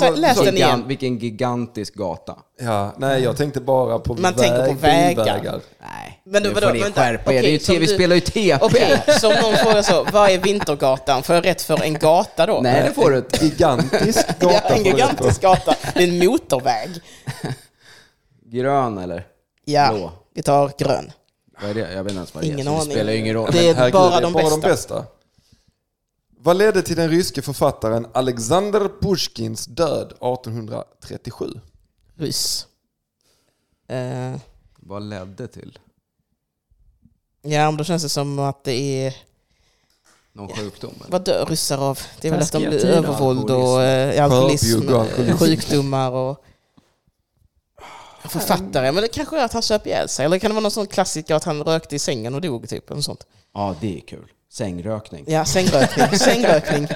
[SPEAKER 4] Så, läs den
[SPEAKER 5] Gigan,
[SPEAKER 4] igen.
[SPEAKER 5] vilken gigantisk gata.
[SPEAKER 2] Ja, nej jag tänkte bara på
[SPEAKER 4] Man
[SPEAKER 2] väg,
[SPEAKER 4] tänker på vägar.
[SPEAKER 2] bilvägar.
[SPEAKER 5] Nej,
[SPEAKER 4] Men då,
[SPEAKER 5] nu
[SPEAKER 4] vadå,
[SPEAKER 5] får ni
[SPEAKER 4] vänta.
[SPEAKER 5] skärpa er. Det är
[SPEAKER 4] Okej,
[SPEAKER 5] ju
[SPEAKER 4] som
[SPEAKER 5] TV, vi
[SPEAKER 4] du-
[SPEAKER 5] spelar ju TP.
[SPEAKER 4] Okej, så om någon frågar så, vad är Vintergatan? Får jag rätt för en gata då?
[SPEAKER 5] Nej, det får du inte.
[SPEAKER 2] Gigantisk
[SPEAKER 4] Det
[SPEAKER 2] gata.
[SPEAKER 4] är en
[SPEAKER 2] får du rätt på.
[SPEAKER 4] gigantisk gata. Det är en motorväg.
[SPEAKER 5] Grön eller?
[SPEAKER 4] Ja,
[SPEAKER 5] Blå.
[SPEAKER 4] vi tar grön.
[SPEAKER 5] Vad är det? Jag vet inte ens vad det
[SPEAKER 4] Ingen
[SPEAKER 5] är. så
[SPEAKER 4] aning.
[SPEAKER 5] Det spelar ju ingen roll.
[SPEAKER 4] Det är
[SPEAKER 2] Herregud,
[SPEAKER 4] bara,
[SPEAKER 2] det
[SPEAKER 4] de, bästa.
[SPEAKER 2] Vad ledde till den ryske författaren Alexander Pushkins död 1837?
[SPEAKER 4] Ryss. Eh,
[SPEAKER 5] Vad ledde till?
[SPEAKER 4] ja, men då känns det som att det är...
[SPEAKER 5] Någon sjukdom? Eller?
[SPEAKER 4] Vad dör ryssar av? Det är väl att de
[SPEAKER 3] Taskiga
[SPEAKER 4] blir
[SPEAKER 3] tider.
[SPEAKER 4] övervåld och eh, alkoholism,
[SPEAKER 2] Skörbjugg och alkoholism.
[SPEAKER 4] sjukdomar och... Författare, men det kanske är att han söp ihjäl sig. Eller kan det vara någon sån klassiker att han rökte i sängen och dog, typ? Eller sånt.
[SPEAKER 5] Ja, det är kul. Sängrökning.
[SPEAKER 4] Ja, sängrökning. sängrökning.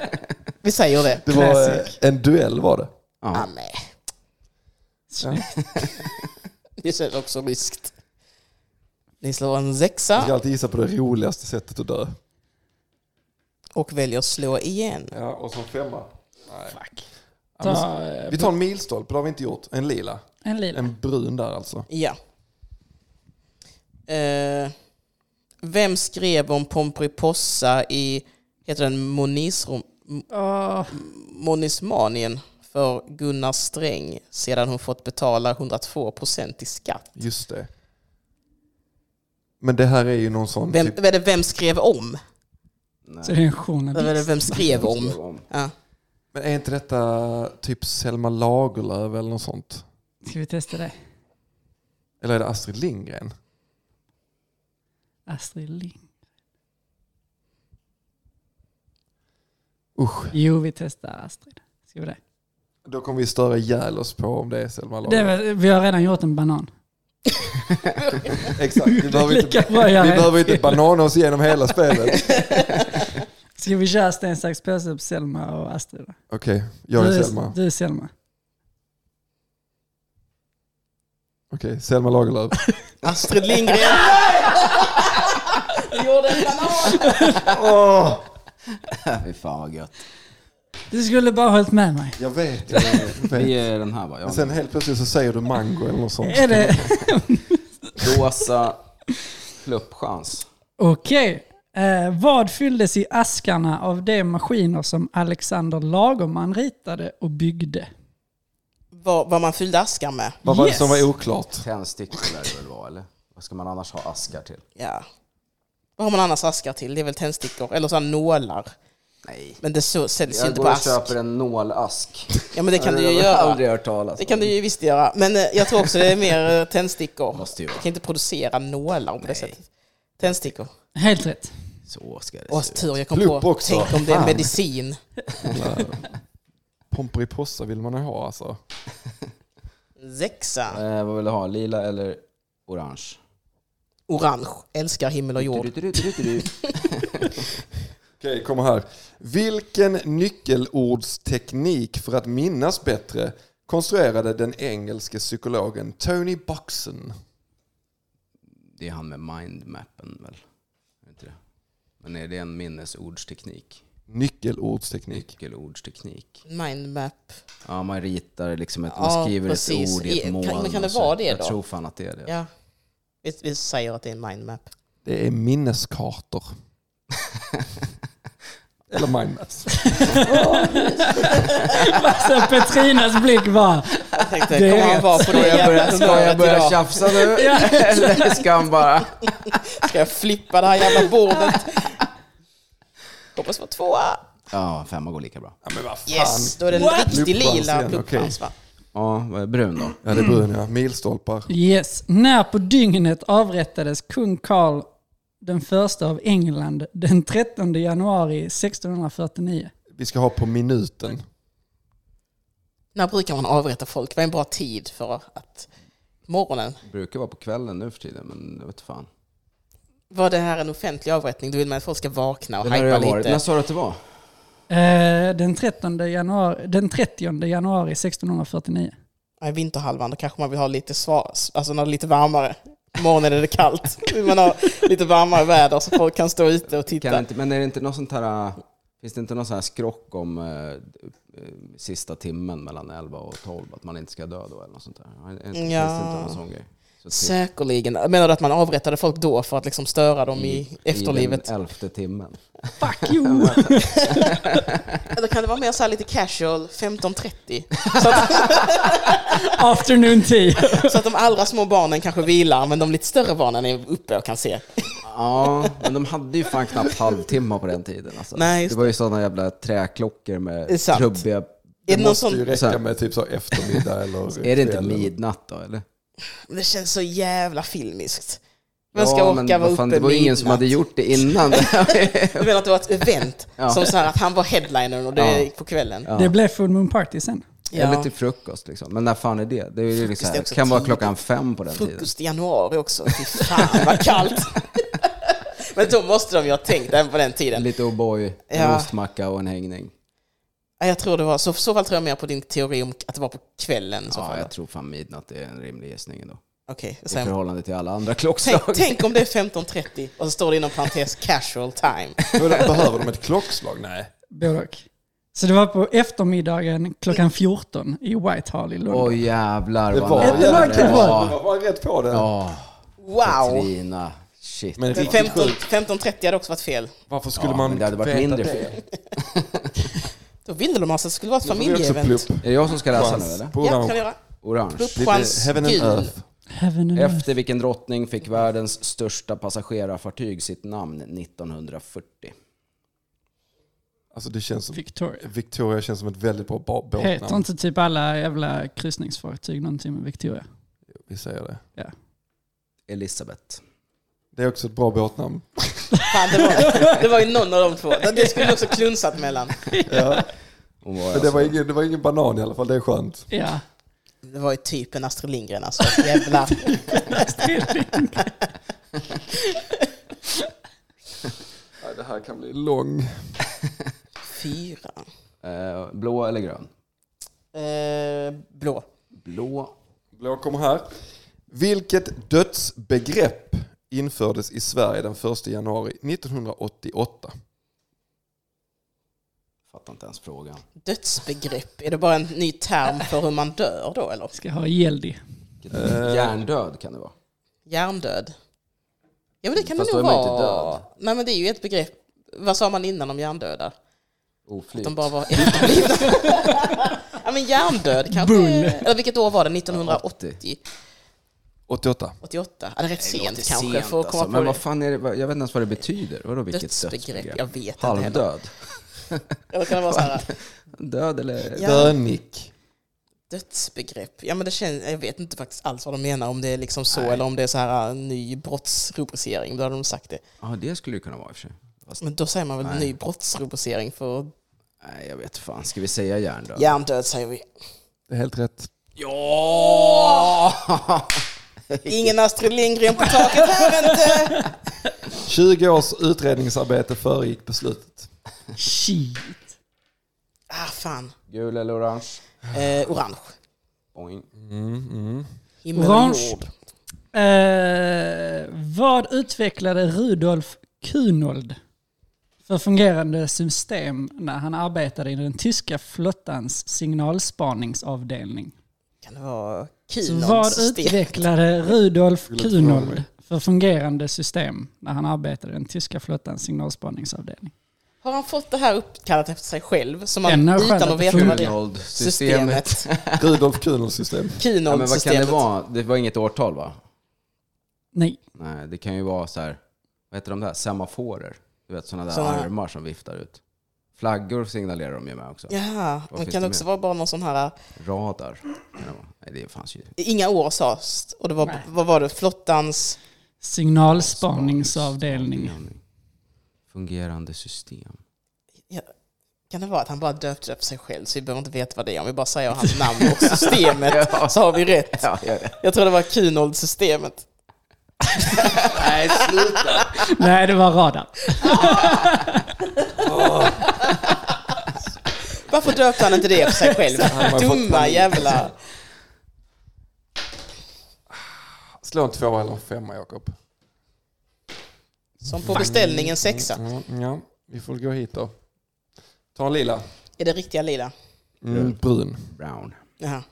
[SPEAKER 4] Vi säger det.
[SPEAKER 2] Det var eh,
[SPEAKER 3] Classic.
[SPEAKER 2] en duell var det.
[SPEAKER 4] Ah,
[SPEAKER 5] Ja.
[SPEAKER 4] nej. Det känns också ryskt. Ni slår en
[SPEAKER 2] Jag ska
[SPEAKER 4] sexa
[SPEAKER 2] alltid gissa på det roligaste sättet att dö.
[SPEAKER 4] och väljer slå igen.
[SPEAKER 2] Ja, och som femma.
[SPEAKER 3] Fuck.
[SPEAKER 2] men-
[SPEAKER 3] Ta, eh,
[SPEAKER 2] Vi tar en milstolpe, det har vi inte gjort. En lila.
[SPEAKER 3] en lila.
[SPEAKER 2] En brun där alltså.
[SPEAKER 4] Ja. Eh, vem skrev om Pomperipossa i heter den Monisrom,
[SPEAKER 3] Åh,
[SPEAKER 4] Monismanien för Gunnar Sträng sedan hon fått betala 102 procent i skatt?
[SPEAKER 2] Just det. Men det här är ju någon sån...
[SPEAKER 4] Vem,
[SPEAKER 2] typ-
[SPEAKER 4] är det vem skrev om?
[SPEAKER 3] så det är en
[SPEAKER 4] Eller är det
[SPEAKER 3] journalist.
[SPEAKER 4] vem skrev om?
[SPEAKER 5] om.
[SPEAKER 4] Ja.
[SPEAKER 2] Men är inte detta typ Selma Lagerlöf eller något sånt?
[SPEAKER 3] Ska vi testa det?
[SPEAKER 2] Eller är det Astrid Lindgren?
[SPEAKER 3] Astrid Ling.
[SPEAKER 2] Usch,
[SPEAKER 3] Jo, vi testar Astrid. Ska vi det?
[SPEAKER 2] då kommer vi störa ihjäl oss på om det är Selma
[SPEAKER 3] det är
[SPEAKER 2] Lagerlöf.
[SPEAKER 3] väl, vi har redan gjort en banan.
[SPEAKER 2] Exakt, vi behöver inte,
[SPEAKER 3] Lika bra att göra
[SPEAKER 2] vi
[SPEAKER 3] en
[SPEAKER 2] behöver
[SPEAKER 3] till.
[SPEAKER 2] inte banana oss igenom hela spelet.
[SPEAKER 3] Ska vi köra sten, sax, påse på Selma och Astrid? då?
[SPEAKER 2] Okej, jag är
[SPEAKER 3] du,
[SPEAKER 2] Selma.
[SPEAKER 3] Du är Selma.
[SPEAKER 2] Okej, Selma Lagerlöf.
[SPEAKER 4] Astrid Lindgren. Jag gjorde en banan.
[SPEAKER 5] Fy fan vad gött.
[SPEAKER 3] Du skulle bara ha hållit med mig.
[SPEAKER 2] Jag vet, jag
[SPEAKER 5] Vi
[SPEAKER 2] vet.
[SPEAKER 5] är den här va? Ja,
[SPEAKER 2] Men sen helt plötsligt så säger du mango eller något sånt.
[SPEAKER 3] Är det...
[SPEAKER 5] Rosa pluppchans.
[SPEAKER 3] Okej. Eh, vad fylldes i askarna av de maskiner som Alexander Lagerman ritade och byggde?
[SPEAKER 4] Vad, vad man fyllde askar med.
[SPEAKER 2] Vad var det
[SPEAKER 3] Yes.
[SPEAKER 2] som var oklart?
[SPEAKER 5] Tändstickor lär det väl vara eller? Vad ska man annars ha askar till?
[SPEAKER 4] Ja. Vad har man annars askar till? Det är väl tändstickor eller sådana nålar.
[SPEAKER 5] Nej.
[SPEAKER 4] Men det så, säljs ju
[SPEAKER 5] Jag
[SPEAKER 4] inte
[SPEAKER 5] går
[SPEAKER 4] på
[SPEAKER 5] och
[SPEAKER 4] ask.
[SPEAKER 5] köper en nålask.
[SPEAKER 4] Ja men det kan du ju
[SPEAKER 5] har
[SPEAKER 4] göra.
[SPEAKER 5] aldrig hört talas
[SPEAKER 4] Det
[SPEAKER 5] om.
[SPEAKER 4] kan du ju visst göra. Men eh, jag tror också det är mer eh, tändstickor.
[SPEAKER 5] Måste ju
[SPEAKER 4] Du
[SPEAKER 5] vara.
[SPEAKER 4] kan inte producera nålar på det sättet. Tändstickor.
[SPEAKER 3] Helt rätt.
[SPEAKER 5] Så ska det
[SPEAKER 4] Åh,
[SPEAKER 5] se ut.
[SPEAKER 4] tur jag kom
[SPEAKER 2] Plupp
[SPEAKER 4] på.
[SPEAKER 2] också.
[SPEAKER 4] Tänk om det är
[SPEAKER 2] Fan.
[SPEAKER 4] medicin.
[SPEAKER 2] Pomperipossa vill man ju ha alltså.
[SPEAKER 4] Zexa.
[SPEAKER 5] Eh, vad vill du ha? Lila eller orange?
[SPEAKER 4] Orange. Älskar himmel och jord.
[SPEAKER 5] Du, du, du, du, du.
[SPEAKER 2] Okej, kommer här. Vilken nyckelordsteknik för att minnas bättre konstruerade den engelske psykologen Tony Boxen?
[SPEAKER 5] Det är han med mindmappen väl? Är det Inte det? Men är det en minnesordsteknik?
[SPEAKER 2] Nyckelordsteknik.
[SPEAKER 5] Nyckelordsteknik?
[SPEAKER 4] Mindmap.
[SPEAKER 5] Ja, man ritar liksom ett,
[SPEAKER 4] Ja,
[SPEAKER 5] man skriver
[SPEAKER 4] precis.
[SPEAKER 5] ett ord i
[SPEAKER 4] Kan-
[SPEAKER 5] ett moln.
[SPEAKER 4] men kan det
[SPEAKER 5] och så.
[SPEAKER 4] vara det
[SPEAKER 5] Jag
[SPEAKER 4] då?
[SPEAKER 5] tror fan att det är det.
[SPEAKER 4] Ja. Vi, vi säger att det är en mindmap.
[SPEAKER 2] Det är minneskartor. Eller mindmaps.
[SPEAKER 3] Alltså Petrinas blick var...
[SPEAKER 4] Jag tänkte,
[SPEAKER 3] Det
[SPEAKER 4] kommer
[SPEAKER 3] är
[SPEAKER 4] han vara på det jävla
[SPEAKER 5] Ska jag börja, ska jag
[SPEAKER 4] humöret
[SPEAKER 5] börja
[SPEAKER 4] idag?
[SPEAKER 5] tjafsa nu? Eller ska han bara...
[SPEAKER 4] Ska jag flippa det här jävla bordet? Hoppas på tvåa.
[SPEAKER 5] Ja, femma går lika bra.
[SPEAKER 2] Ja, men vad fan.
[SPEAKER 4] Yes, då är det en
[SPEAKER 3] What?
[SPEAKER 4] riktig
[SPEAKER 2] Pluppchans
[SPEAKER 4] lila
[SPEAKER 2] igen,
[SPEAKER 4] pluppchans va?
[SPEAKER 5] Ja, vad är brun då?
[SPEAKER 2] Ja, det är brun ja. Milstolpar.
[SPEAKER 3] Yes. När på dygnet avrättades kung Karl den första av England den 13 januari 1649?
[SPEAKER 2] Vi ska ha på minuten.
[SPEAKER 4] När brukar man avrätta folk? Vad är en bra tid för att... Morgonen?
[SPEAKER 5] Brukar vara på kvällen nu för tiden, men jag vet fan.
[SPEAKER 4] Var det här en offentlig avrättning? Då vill man att folk ska vakna och
[SPEAKER 5] Det lär det
[SPEAKER 4] hajpa
[SPEAKER 5] ha varit. När
[SPEAKER 4] lite.
[SPEAKER 5] sa du att det var?
[SPEAKER 3] Eh, den, 13 januari, den 30 januari 1649.
[SPEAKER 4] I vinterhalvan, då kanske man vill ha lite svar, alltså när det är lite varmare. På morgonen är det kallt. Vill man ha lite varmare väder så folk kan stå ute och
[SPEAKER 5] Kan det
[SPEAKER 4] titta.
[SPEAKER 5] inte, men är det inte något sånt här... äh, Finns det inte någon sån här skrock om eh, eh, sista timmen mellan 11 och 12? Att man inte ska dö då eller något sånt där? Är det inte-
[SPEAKER 4] Ja.
[SPEAKER 5] Finns det inte någon sån grej? Så till-
[SPEAKER 4] Säkerligen. Menar du att man avrättade folk då för att liksom störa dem i
[SPEAKER 5] I
[SPEAKER 4] efterlivet?
[SPEAKER 5] den elfte timmen.
[SPEAKER 3] Fuck you!
[SPEAKER 4] Eller kan det vara mer så här lite casual, 15.30?
[SPEAKER 3] Afternoon tea.
[SPEAKER 4] Så att de allra små barnen kanske vilar, men de lite större barnen är uppe och kan se.
[SPEAKER 5] Ja, men de hade ju fan knappt halvtimmar på den tiden. Alltså.
[SPEAKER 4] Nej, just
[SPEAKER 5] det var ju sådana jävla träklockor
[SPEAKER 4] Det är
[SPEAKER 5] med
[SPEAKER 4] sant.
[SPEAKER 5] trubbiga...
[SPEAKER 4] Är det, någon
[SPEAKER 2] Måste ju
[SPEAKER 4] sån,
[SPEAKER 5] Mm. Så här.
[SPEAKER 2] räcka med typ så eftermiddag eller...
[SPEAKER 5] Är det inte
[SPEAKER 2] kväll.
[SPEAKER 5] midnatt då eller?
[SPEAKER 4] det känns så jävla filmiskt. Vem ska
[SPEAKER 5] Ja,
[SPEAKER 4] orka
[SPEAKER 5] men
[SPEAKER 4] vara
[SPEAKER 5] vad
[SPEAKER 4] uppe
[SPEAKER 5] fan, Det var ingen
[SPEAKER 4] midnatt?
[SPEAKER 5] som hade gjort det innan.
[SPEAKER 4] Du menar att det var ett event?
[SPEAKER 5] Ja.
[SPEAKER 4] Som så här att han var headlinern och det
[SPEAKER 5] Ja.
[SPEAKER 4] gick på kvällen?
[SPEAKER 5] Ja.
[SPEAKER 3] Det blev Full Moon Party sen.
[SPEAKER 4] Ja.
[SPEAKER 5] Eller till frukost liksom. Men när fan är det? Det är ju liksom,
[SPEAKER 4] är också
[SPEAKER 5] kan vara
[SPEAKER 4] tidigt.
[SPEAKER 5] klockan fem på den tiden.
[SPEAKER 4] Frukost i januari också, fy fan vad kallt! men då måste de ju ha tänkt även på den tiden.
[SPEAKER 5] Lite O'boy, en
[SPEAKER 4] Ja.
[SPEAKER 5] ostmacka och en hängning.
[SPEAKER 4] Ja, Jag tror det var, så i så fall tror jag mer på din teori om att det var på kvällen. i Så
[SPEAKER 5] Ja,
[SPEAKER 4] fall.
[SPEAKER 5] jag tror fan midnatt är en rimlig gissning ändå.
[SPEAKER 4] Okej, och
[SPEAKER 5] I
[SPEAKER 4] sen,
[SPEAKER 5] förhållande till alla andra
[SPEAKER 4] tänk,
[SPEAKER 5] klockslag.
[SPEAKER 4] tänk om det är 15.30 och så står det inom parentes casual time.
[SPEAKER 2] Men Behöver de ett klockslag? Nej.
[SPEAKER 3] Både och. Så det var på eftermiddagen klockan 14 i Whitehall i London.
[SPEAKER 5] Åh jävlar
[SPEAKER 2] Det
[SPEAKER 5] vad
[SPEAKER 2] var-
[SPEAKER 5] nära
[SPEAKER 2] det
[SPEAKER 3] var
[SPEAKER 5] det
[SPEAKER 3] kul.
[SPEAKER 5] var.
[SPEAKER 2] Jag var rätt på det.
[SPEAKER 5] Ja,
[SPEAKER 4] Wow!
[SPEAKER 5] Katrina. Shit.
[SPEAKER 2] Men
[SPEAKER 4] Men
[SPEAKER 2] riktigt
[SPEAKER 4] 15
[SPEAKER 2] sjukt.
[SPEAKER 4] 15.30 hade också varit fel.
[SPEAKER 2] Varför skulle
[SPEAKER 5] Ja,
[SPEAKER 2] man
[SPEAKER 5] men det hade varit
[SPEAKER 2] veta
[SPEAKER 5] mindre
[SPEAKER 2] det?
[SPEAKER 5] fel.
[SPEAKER 4] Då ville de alltså att det skulle vara ett
[SPEAKER 2] Det är också
[SPEAKER 4] familjeevent.
[SPEAKER 2] plupp.
[SPEAKER 5] Är det jag som ska läsa nu
[SPEAKER 2] Chans
[SPEAKER 5] eller?
[SPEAKER 2] på
[SPEAKER 4] Ja,
[SPEAKER 2] orange.
[SPEAKER 4] kan du göra.
[SPEAKER 5] Orange.
[SPEAKER 4] Pluppchans,
[SPEAKER 2] Heaven and
[SPEAKER 4] gul.
[SPEAKER 2] Earth.
[SPEAKER 3] Heaven and Earth.
[SPEAKER 5] Efter vilken drottning fick världens största passagerarfartyg sitt namn 1940?
[SPEAKER 2] Alltså det känns som,
[SPEAKER 3] Victoria.
[SPEAKER 2] Victoria känns som ett väldigt bra ba-
[SPEAKER 3] Heter
[SPEAKER 2] båtnamn.
[SPEAKER 3] inte typ alla jävla kryssningsfartyg någonting med Victoria?
[SPEAKER 2] Vi säger det.
[SPEAKER 3] Ja.
[SPEAKER 5] Elisabeth.
[SPEAKER 2] Det är också ett bra båtnamn.
[SPEAKER 4] Fan, det, var, det var ju någon av de två. Det skulle också klunsat mellan.
[SPEAKER 5] Hon var
[SPEAKER 2] Men det,
[SPEAKER 5] alltså,
[SPEAKER 2] var ingen, det var ingen banan i alla fall, det är skönt.
[SPEAKER 3] Ja.
[SPEAKER 4] Det var ju typ en Astrid Lindgren alltså. Jävlar.
[SPEAKER 2] Nej, det här kan bli lång.
[SPEAKER 4] Fyra.
[SPEAKER 5] eh, blå eller grön?
[SPEAKER 4] Eh, blå.
[SPEAKER 5] Blå.
[SPEAKER 2] Blå kommer här. Vilket dödsbegrepp infördes i Sverige den 1 januari 1988?
[SPEAKER 5] Fattar inte ens frågan.
[SPEAKER 4] Dödsbegrepp, är det bara en ny term för hur man dör då eller?
[SPEAKER 3] Ska ha Geldi.
[SPEAKER 5] Vilket- Hjärndöd kan det vara.
[SPEAKER 4] Hjärndöd? Ja men det kan
[SPEAKER 5] Fast
[SPEAKER 4] det nog
[SPEAKER 5] då är man inte
[SPEAKER 4] vara.
[SPEAKER 5] död.
[SPEAKER 4] Nej men det är ju ett begrepp. Vad sa man innan om hjärndöda?
[SPEAKER 5] Oflyt.
[SPEAKER 4] De bara var efterblivna. ja men hjärndöd kanske. Eller vilket år var det? 1980?
[SPEAKER 2] 88.
[SPEAKER 4] 88? Ja, det är rätt
[SPEAKER 5] Det låter
[SPEAKER 4] sent kanske för att komma
[SPEAKER 5] alltså. Men
[SPEAKER 4] på
[SPEAKER 5] vad
[SPEAKER 4] det.
[SPEAKER 5] fan är det? vad- Jag vet inte ens vad det betyder. Vadå vilket
[SPEAKER 4] Dödsbegrepp?
[SPEAKER 5] dödsbegrepp?
[SPEAKER 4] Jag vet inte heller.
[SPEAKER 5] Halvdöd?
[SPEAKER 4] Eller kan det vara så här,
[SPEAKER 5] Död eller?
[SPEAKER 4] Ja.
[SPEAKER 2] Bönick.
[SPEAKER 4] dödsbegrepp? Ja men det känns, jag vet inte faktiskt alls vad de menar. Om det är liksom så eller om det är så här en ny brottsrubricering. Då hade de sagt det.
[SPEAKER 5] Ja, det skulle det kunna vara i och för sig. Fast,
[SPEAKER 4] Men då säger man väl ny brottsrubricering för
[SPEAKER 5] nej, jag vet fan. Ska vi säga hjärndöd?
[SPEAKER 4] hjärndöd säger vi.
[SPEAKER 2] Det är helt rätt.
[SPEAKER 5] Ja!
[SPEAKER 4] Ingen Astrid Lindgren på taket här inte!
[SPEAKER 2] 20 års utredningsarbete föregick beslutet.
[SPEAKER 3] Shit.
[SPEAKER 4] Ah fan.
[SPEAKER 5] Gul eller orange?
[SPEAKER 4] Eh, orange.
[SPEAKER 5] Boing.
[SPEAKER 4] Himmel
[SPEAKER 3] Orange.
[SPEAKER 4] och jord.
[SPEAKER 3] Eh, vad utvecklade Rudolf Kunold för fungerande system när han arbetade i den tyska flottans signalspaningsavdelning?
[SPEAKER 4] Kan det vara
[SPEAKER 3] Så vad
[SPEAKER 4] Kunons
[SPEAKER 3] utvecklade Rudolf
[SPEAKER 2] Skulle tro
[SPEAKER 3] Kunold
[SPEAKER 2] mig.
[SPEAKER 3] för fungerande system när han arbetade i den tyska flottans signalspaningsavdelning?
[SPEAKER 4] Har han fått det här uppkallat efter sig själv? Som
[SPEAKER 3] Den
[SPEAKER 4] man,
[SPEAKER 3] har
[SPEAKER 4] utan
[SPEAKER 3] skärrat
[SPEAKER 4] att veta vad det är?
[SPEAKER 5] Kunold-systemet.
[SPEAKER 4] Systemet.
[SPEAKER 2] Rudolf Kunels system.
[SPEAKER 5] Ja, men vad kan
[SPEAKER 4] Kunons-systemet.
[SPEAKER 5] det vara? Det var inget årtal va?
[SPEAKER 3] Nej,
[SPEAKER 5] Nej, det kan ju vara så här, vad heter de där? Semaforer. Du vet sådana där
[SPEAKER 4] Såna här-
[SPEAKER 5] armar som viftar ut. Flaggor signalerar de ju med också.
[SPEAKER 4] Ja, men
[SPEAKER 5] finns
[SPEAKER 4] kan
[SPEAKER 5] det
[SPEAKER 4] det också
[SPEAKER 5] mer?
[SPEAKER 4] vara bara någon sån här...
[SPEAKER 5] Radar. kan det vara. Nej, det fanns ju.
[SPEAKER 4] Inga år sades och det var, vad var det, flottans...
[SPEAKER 3] signalspaningsavdelning.
[SPEAKER 5] Fungerande system.
[SPEAKER 4] Ja, kan det vara att han bara döpte det efter sig själv så vi behöver inte veta vad det är? Om vi bara säger hans namn och systemet så har vi rätt. Jag tror det var Kunold-systemet.
[SPEAKER 5] Nej, sluta!
[SPEAKER 3] Nej, det var radar.
[SPEAKER 4] Varför döpte han inte det för sig själv?
[SPEAKER 2] hade man fått
[SPEAKER 4] Dumma
[SPEAKER 2] panik.
[SPEAKER 4] jävla...
[SPEAKER 2] Slå en tvåa eller en femma, Jakob.
[SPEAKER 4] Som på beställningen sexa.
[SPEAKER 2] Mm, ja, vi får gå hit då. Ta en lila.
[SPEAKER 4] Är det riktiga lila?
[SPEAKER 2] Mm, brun.
[SPEAKER 5] Brown.
[SPEAKER 4] Jaha.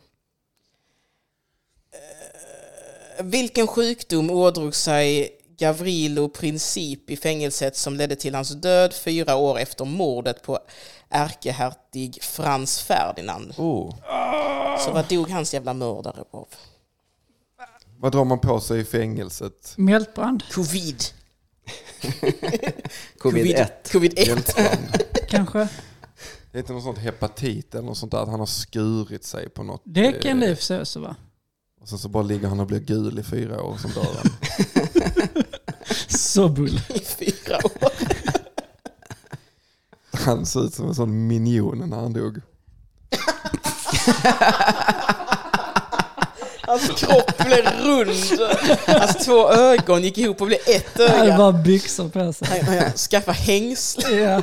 [SPEAKER 4] Eh, Vilken sjukdom ådrog sig Gavrilo Princip i fängelset som ledde till hans död fyra år efter mordet på ärkehertig Frans Ferdinand?
[SPEAKER 2] Oh.
[SPEAKER 4] Så vad dog hans jävla mördare av?
[SPEAKER 2] Vad drar man på sig i fängelset?
[SPEAKER 3] Mjältbrand,
[SPEAKER 4] Covid.
[SPEAKER 5] Covid-1.
[SPEAKER 4] Covid-1.
[SPEAKER 3] kanske?
[SPEAKER 2] Det är inte något sånt hepatit eller något sånt där att han har skurit sig på något.
[SPEAKER 3] Det
[SPEAKER 2] eh,
[SPEAKER 3] kan det i och för sig också vara.
[SPEAKER 2] Och sen så bara ligger han och blir gul i fyra år som dör han.
[SPEAKER 3] Så bull.
[SPEAKER 4] i fyra år.
[SPEAKER 2] Han ser ut som en sån minion när han dog.
[SPEAKER 4] Hans kropp blev rund. Hans två ögon gick ihop och blev ett
[SPEAKER 3] Han
[SPEAKER 4] öga.
[SPEAKER 3] bara byxor på sig.
[SPEAKER 4] Skaffa hängslen.
[SPEAKER 3] Ja.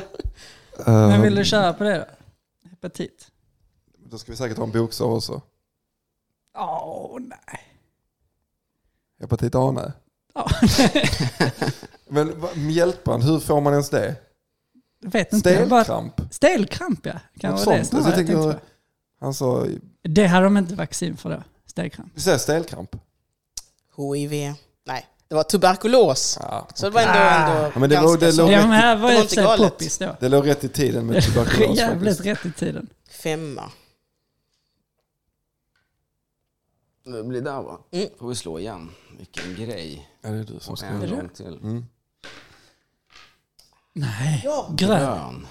[SPEAKER 2] Ehm.
[SPEAKER 3] Men vill du köra på det då? Hepatit?
[SPEAKER 2] Då ska vi säkert ha en bokstav också.
[SPEAKER 3] Åh, nej.
[SPEAKER 2] Hepatit A, nej.
[SPEAKER 3] Ja.
[SPEAKER 2] Men va- mjältbrand, hur får man ens det?
[SPEAKER 3] Jag vet inte. jag Bara...
[SPEAKER 2] Stelkramp?
[SPEAKER 3] Stelkramp ja. Kan
[SPEAKER 2] Något
[SPEAKER 3] vara det
[SPEAKER 2] sånt. Alltså, jag
[SPEAKER 3] snarare. Jag tänkte
[SPEAKER 2] tänker,
[SPEAKER 3] på.
[SPEAKER 2] han sa,
[SPEAKER 3] Det hade de inte vaccin för då. Stelkramp.
[SPEAKER 2] vi säger stelkramp.
[SPEAKER 4] HIV. Nej, det var tuberkulos.
[SPEAKER 2] Ja.
[SPEAKER 4] Så det var ändå... ändå
[SPEAKER 2] Ja, men det var-
[SPEAKER 4] ganska
[SPEAKER 2] det
[SPEAKER 4] så.
[SPEAKER 2] låg-
[SPEAKER 3] Ja, men här
[SPEAKER 4] Det
[SPEAKER 3] var
[SPEAKER 4] var
[SPEAKER 3] ju
[SPEAKER 4] inte
[SPEAKER 3] ett
[SPEAKER 4] galet.
[SPEAKER 3] poppis då.
[SPEAKER 2] Det låg rätt i tiden med tuberkulos
[SPEAKER 3] Jävligt
[SPEAKER 2] faktiskt.
[SPEAKER 3] rätt i tiden.
[SPEAKER 4] Femma.
[SPEAKER 5] Det blir där va?
[SPEAKER 4] Mm.
[SPEAKER 5] Får vi slå igen. Vilken grej.
[SPEAKER 2] Ja, det är du som
[SPEAKER 5] Och
[SPEAKER 2] ska.
[SPEAKER 5] en
[SPEAKER 3] det?
[SPEAKER 5] gång till.
[SPEAKER 2] Mm.
[SPEAKER 3] Nej.
[SPEAKER 4] Ja.
[SPEAKER 3] Grön.
[SPEAKER 5] Grön.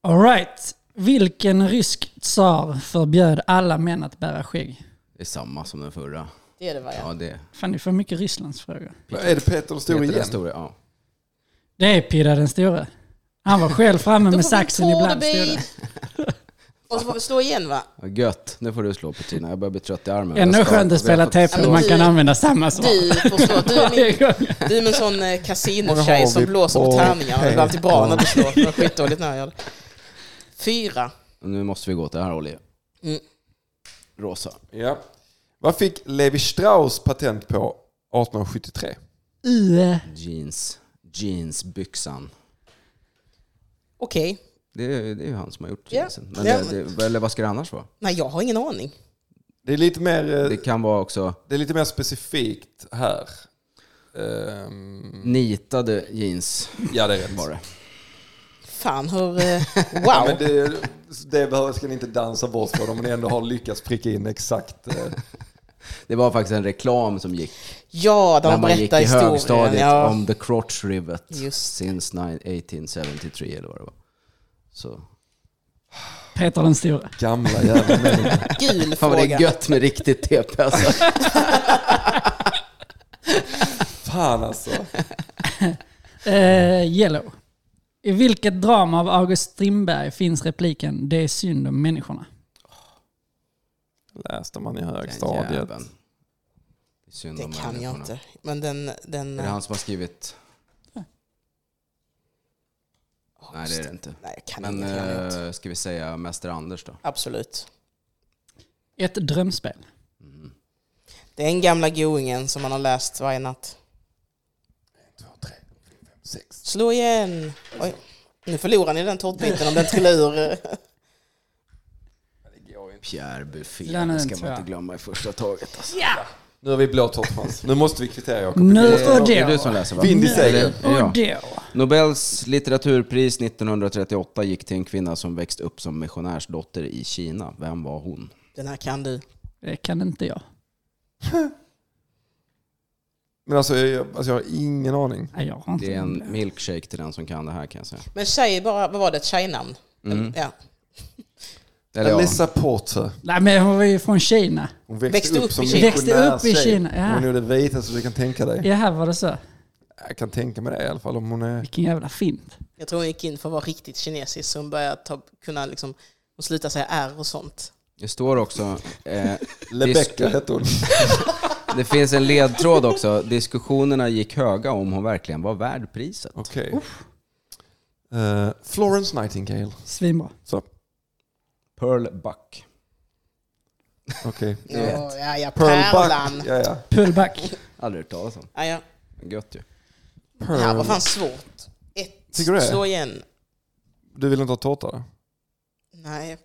[SPEAKER 3] Alright. Vilken rysk tsar förbjöd alla män att bära skägg?
[SPEAKER 5] Det är samma som den förra.
[SPEAKER 4] Det är det va? Ja.
[SPEAKER 5] Ja, det
[SPEAKER 3] Fan, ni får mycket Rysslandsfrågor.
[SPEAKER 2] Är det Peter den store
[SPEAKER 5] Peter den
[SPEAKER 2] igen?
[SPEAKER 5] store, ja.
[SPEAKER 3] Det är Pida den store. Han var själv framme
[SPEAKER 4] Då
[SPEAKER 3] med
[SPEAKER 4] får vi
[SPEAKER 3] saxen
[SPEAKER 4] ta
[SPEAKER 3] ibland.
[SPEAKER 4] det,
[SPEAKER 3] stod
[SPEAKER 4] babe. Och så får vi slå igen va?
[SPEAKER 5] Ja, Gött, nu får du slå på Tina. Jag börjar bli trött i armen.
[SPEAKER 3] det. Ännu
[SPEAKER 5] Jag ska-
[SPEAKER 3] skönt att spela
[SPEAKER 5] jag vet
[SPEAKER 3] TP om man kan använda samma svar.
[SPEAKER 4] Du får slå. Du är min
[SPEAKER 3] Varje gång.
[SPEAKER 4] Du är en sån eh,
[SPEAKER 2] Vad har
[SPEAKER 4] kasinotjej
[SPEAKER 2] vi
[SPEAKER 4] som blåser på
[SPEAKER 2] på
[SPEAKER 4] tärningarna. Det blir alltid bra när du slår. Det var skitdåligt när jag gör det. Fyra.
[SPEAKER 5] Nu måste vi gå till det här, Olli.
[SPEAKER 4] Mm.
[SPEAKER 5] Rosa.
[SPEAKER 2] Ja. Vad fick Levi Strauss patent på 1873?
[SPEAKER 3] Ue.
[SPEAKER 5] Jeans. Jeansbyxan.
[SPEAKER 4] Okej.
[SPEAKER 5] Det är, det är ju han som har gjort
[SPEAKER 4] Ja.
[SPEAKER 5] jeansen. Men
[SPEAKER 4] Ja.
[SPEAKER 5] det, det, eller vad ska det annars vara?
[SPEAKER 4] Nej, jag har ingen aning.
[SPEAKER 2] Det är lite mer, eh,
[SPEAKER 5] Det kan vara också
[SPEAKER 2] det är lite mer specifikt här. Ehm,
[SPEAKER 5] nitade jeans.
[SPEAKER 2] ja, det är rätt.
[SPEAKER 5] Var det.
[SPEAKER 4] Fan, hur... eh,
[SPEAKER 2] Ja, men
[SPEAKER 4] Wow!
[SPEAKER 2] det, det behöver, ska ni inte dansa bort för om ni ändå har lyckats pricka in exakt. eh,
[SPEAKER 5] det var faktiskt en reklam som gick
[SPEAKER 4] Ja, där
[SPEAKER 5] när
[SPEAKER 4] de
[SPEAKER 5] man gick i
[SPEAKER 4] berättar historien.
[SPEAKER 5] högstadiet
[SPEAKER 4] Ja.
[SPEAKER 5] om the crotch rivet
[SPEAKER 4] Just
[SPEAKER 5] since 1873 eller vad det var. Så.
[SPEAKER 3] Peter den store.
[SPEAKER 2] Gamla jävla människor.
[SPEAKER 4] Gul
[SPEAKER 5] Fan vad det är
[SPEAKER 4] fråga.
[SPEAKER 5] gött med riktigt TP alltså.
[SPEAKER 2] Fan alltså.
[SPEAKER 3] Eh, yellow. I vilket drama av August Strindberg finns repliken “Det är synd om människorna”?
[SPEAKER 2] Läste man i
[SPEAKER 5] Den
[SPEAKER 2] högstadiet.
[SPEAKER 5] jäveln. Det är synd om
[SPEAKER 4] Det kan jag
[SPEAKER 5] människorna.
[SPEAKER 4] inte. Men den... den
[SPEAKER 5] Är det han som har skrivit? Nej det är det inte.
[SPEAKER 4] Nej, jag kan
[SPEAKER 5] Men
[SPEAKER 4] inget. jag vet.
[SPEAKER 5] eh, ska vi säga Mäster Anders då?
[SPEAKER 4] Absolut.
[SPEAKER 3] Ett drömspel.
[SPEAKER 5] Mm.
[SPEAKER 4] Det är en gamla goingen som man har läst varje natt.
[SPEAKER 2] Sex.
[SPEAKER 4] Slå igen! Oj. Nu förlorar ni den tårtbiten om den trillar ur. eh.
[SPEAKER 5] Pierre Buffé,
[SPEAKER 3] Den är
[SPEAKER 5] det ska
[SPEAKER 3] inte
[SPEAKER 5] man
[SPEAKER 3] jag.
[SPEAKER 5] inte glömma i första taget alltså.
[SPEAKER 2] Nu har vi blå tårtchans. Nu måste vi kvittera Jakob.
[SPEAKER 3] Nu och
[SPEAKER 5] Det är du
[SPEAKER 3] då.
[SPEAKER 5] som läser va?
[SPEAKER 2] Vind i
[SPEAKER 5] Eller-
[SPEAKER 2] seglen.
[SPEAKER 5] Ja.
[SPEAKER 3] Och då.
[SPEAKER 5] Nobels litteraturpris 1938 gick till en kvinna som växt upp som missionärsdotter i Kina. Vem var hon?
[SPEAKER 4] Den här kan du.
[SPEAKER 3] Det kan inte jag.
[SPEAKER 2] Men alltså jag, alltså jag har ingen aning.
[SPEAKER 3] Nej, jag har inte
[SPEAKER 5] Det är en milkshake till den som kan det här kan jag säga.
[SPEAKER 4] Men tjej, bara, vad var det? Ett tjejnamn?
[SPEAKER 2] Mm.
[SPEAKER 4] Ja.
[SPEAKER 5] Eller ja,
[SPEAKER 2] Alissa Porter.
[SPEAKER 3] Nej, men hon var ju från Kina.
[SPEAKER 2] Hon växte,
[SPEAKER 4] Växte upp
[SPEAKER 2] upp som
[SPEAKER 4] i Kina.
[SPEAKER 3] Växte upp i
[SPEAKER 2] missionärstjej.
[SPEAKER 3] Kina, ja.
[SPEAKER 2] Hon är det vitaste du kan tänka dig.
[SPEAKER 3] Ja, här var det så.
[SPEAKER 2] Jag kan tänka mig det i alla fall. Om hon är...
[SPEAKER 3] Vilken jävla fint.
[SPEAKER 4] Jag tror hon gick in för att vara riktigt kinesisk så hon började ta, kunna liksom, hon slutade säga R och sånt.
[SPEAKER 5] det står också... Eh,
[SPEAKER 2] Lebecka hette hon.
[SPEAKER 5] det finns en ledtråd också. Diskussionerna gick höga om hon verkligen var värd priset.
[SPEAKER 2] Okej. Eh, Florence Nightingale.
[SPEAKER 3] Svinbra.
[SPEAKER 2] Så,
[SPEAKER 5] Pearl Buck.
[SPEAKER 2] okej.
[SPEAKER 4] Ja, ja, ja,
[SPEAKER 2] Pearl
[SPEAKER 4] pärlan.
[SPEAKER 2] Buck. Ja, ja.
[SPEAKER 3] Pullback.
[SPEAKER 5] Aldrig hört talas om.
[SPEAKER 4] Ja, ja.
[SPEAKER 5] Gött ju.
[SPEAKER 4] Det här var
[SPEAKER 2] Pearl.
[SPEAKER 4] fan svårt. Ett,
[SPEAKER 2] Tycker du det?
[SPEAKER 4] slå igen.
[SPEAKER 2] Du vill inte ha tårta?
[SPEAKER 4] Nej,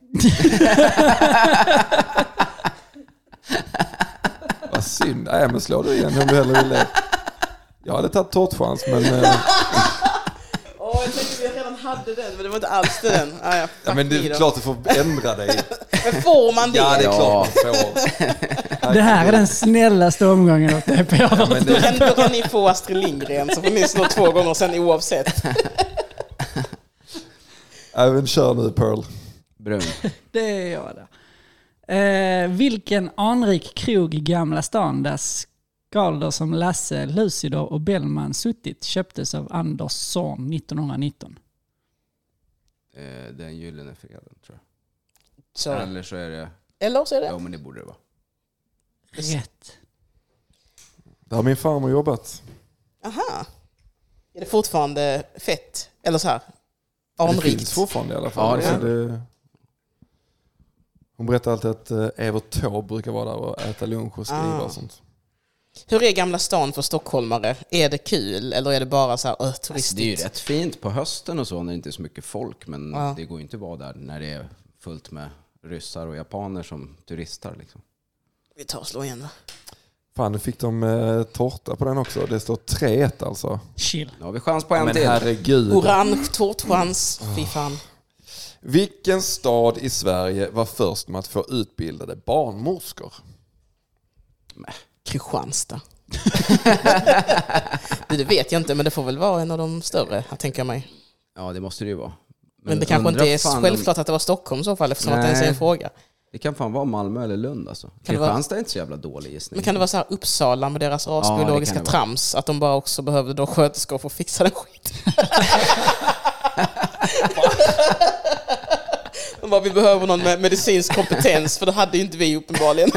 [SPEAKER 2] Vad synd. Nej, men slå du igen om du hellre vill det. Jag hade tagit tårtchans, men... eh,
[SPEAKER 4] Åh, jag tänkte att jag redan hade den, men det var inte alls den. Ja, ja,
[SPEAKER 2] ja,
[SPEAKER 4] fuck
[SPEAKER 2] men det
[SPEAKER 4] me
[SPEAKER 2] är
[SPEAKER 4] då.
[SPEAKER 2] klart du får ändra dig.
[SPEAKER 4] Men får man det?
[SPEAKER 2] Ja, det är
[SPEAKER 5] Ja.
[SPEAKER 2] klart man får.
[SPEAKER 3] Det här är den snällaste omgången av TP jag har
[SPEAKER 2] Men
[SPEAKER 3] hört.
[SPEAKER 4] Då
[SPEAKER 2] det,
[SPEAKER 4] kan, då kan ni få Astrid Lindgren, så får ni slå två gånger sen oavsett.
[SPEAKER 2] ja, men kör nu, Pearl.
[SPEAKER 5] Brun.
[SPEAKER 3] Det är jag där. Eh, vilken anrik krog i Gamla stan där skalder som Lasse, Lucidor och Bellman suttit köptes av Anders Zorn 1919?
[SPEAKER 5] Eh, den gyllene freden tror
[SPEAKER 4] Så.
[SPEAKER 5] jag. Eller så är det...
[SPEAKER 4] Eller så är
[SPEAKER 5] Mm. Ja
[SPEAKER 4] det...
[SPEAKER 5] men det borde det vara.
[SPEAKER 3] Rätt.
[SPEAKER 2] Där har min farmor jobbat.
[SPEAKER 4] Aha. Är det fortfarande fett? Eller så här?
[SPEAKER 2] Det finns
[SPEAKER 4] Anrikt?
[SPEAKER 2] fortfarande i alla fall.
[SPEAKER 5] Ja, det
[SPEAKER 2] Alltså, det... Hon berättar alltid att eh, Evert Taube brukar vara där och äta lunch och skriva
[SPEAKER 4] Ah.
[SPEAKER 2] och sånt.
[SPEAKER 4] Hur är Gamla stan för stockholmare? Är det kul eller är det bara så här, öh,
[SPEAKER 5] Alltså, det är ju
[SPEAKER 4] turistigt?
[SPEAKER 5] rätt fint på hösten och så när det inte är så mycket folk. Men
[SPEAKER 4] Ja.
[SPEAKER 5] det går ju inte att vara där när det är fullt med ryssar och japaner som turistar. Liksom.
[SPEAKER 4] Vi tar och slår igen va?
[SPEAKER 2] Fan, nu fick de eh, tårta på den också. Det står 3-1 alltså.
[SPEAKER 3] Chill.
[SPEAKER 5] Nu har vi chans på en
[SPEAKER 2] Men
[SPEAKER 5] till.
[SPEAKER 2] herregud.
[SPEAKER 4] Orange tårtchans, fy fan.
[SPEAKER 2] Vilken stad i Sverige var först med att få utbildade barnmorskor?
[SPEAKER 4] Kristianstad. det, det vet jag inte, men det får väl vara en av de större, jag tänker jag mig.
[SPEAKER 5] Ja, det måste det ju vara. Men,
[SPEAKER 4] Men det kanske inte
[SPEAKER 5] undrar
[SPEAKER 4] är
[SPEAKER 5] fan om-
[SPEAKER 4] självklart att det var Stockholm i så fall, eftersom att det ens är en
[SPEAKER 5] Nej.
[SPEAKER 4] fråga.
[SPEAKER 5] Det kan fan vara Malmö eller Lund alltså.
[SPEAKER 4] Kan det vara-
[SPEAKER 5] Kristianstad är inte så jävla dålig gissning.
[SPEAKER 4] Men kan det vara så här Uppsala med deras
[SPEAKER 5] det kan
[SPEAKER 4] rasbiologiska
[SPEAKER 5] det vara.
[SPEAKER 4] trams, att de bara också behövde då sköterskor för att fixa den skiten? de bara, vi behöver någon med medicinsk kompetens, för det hade ju inte vi uppenbarligen.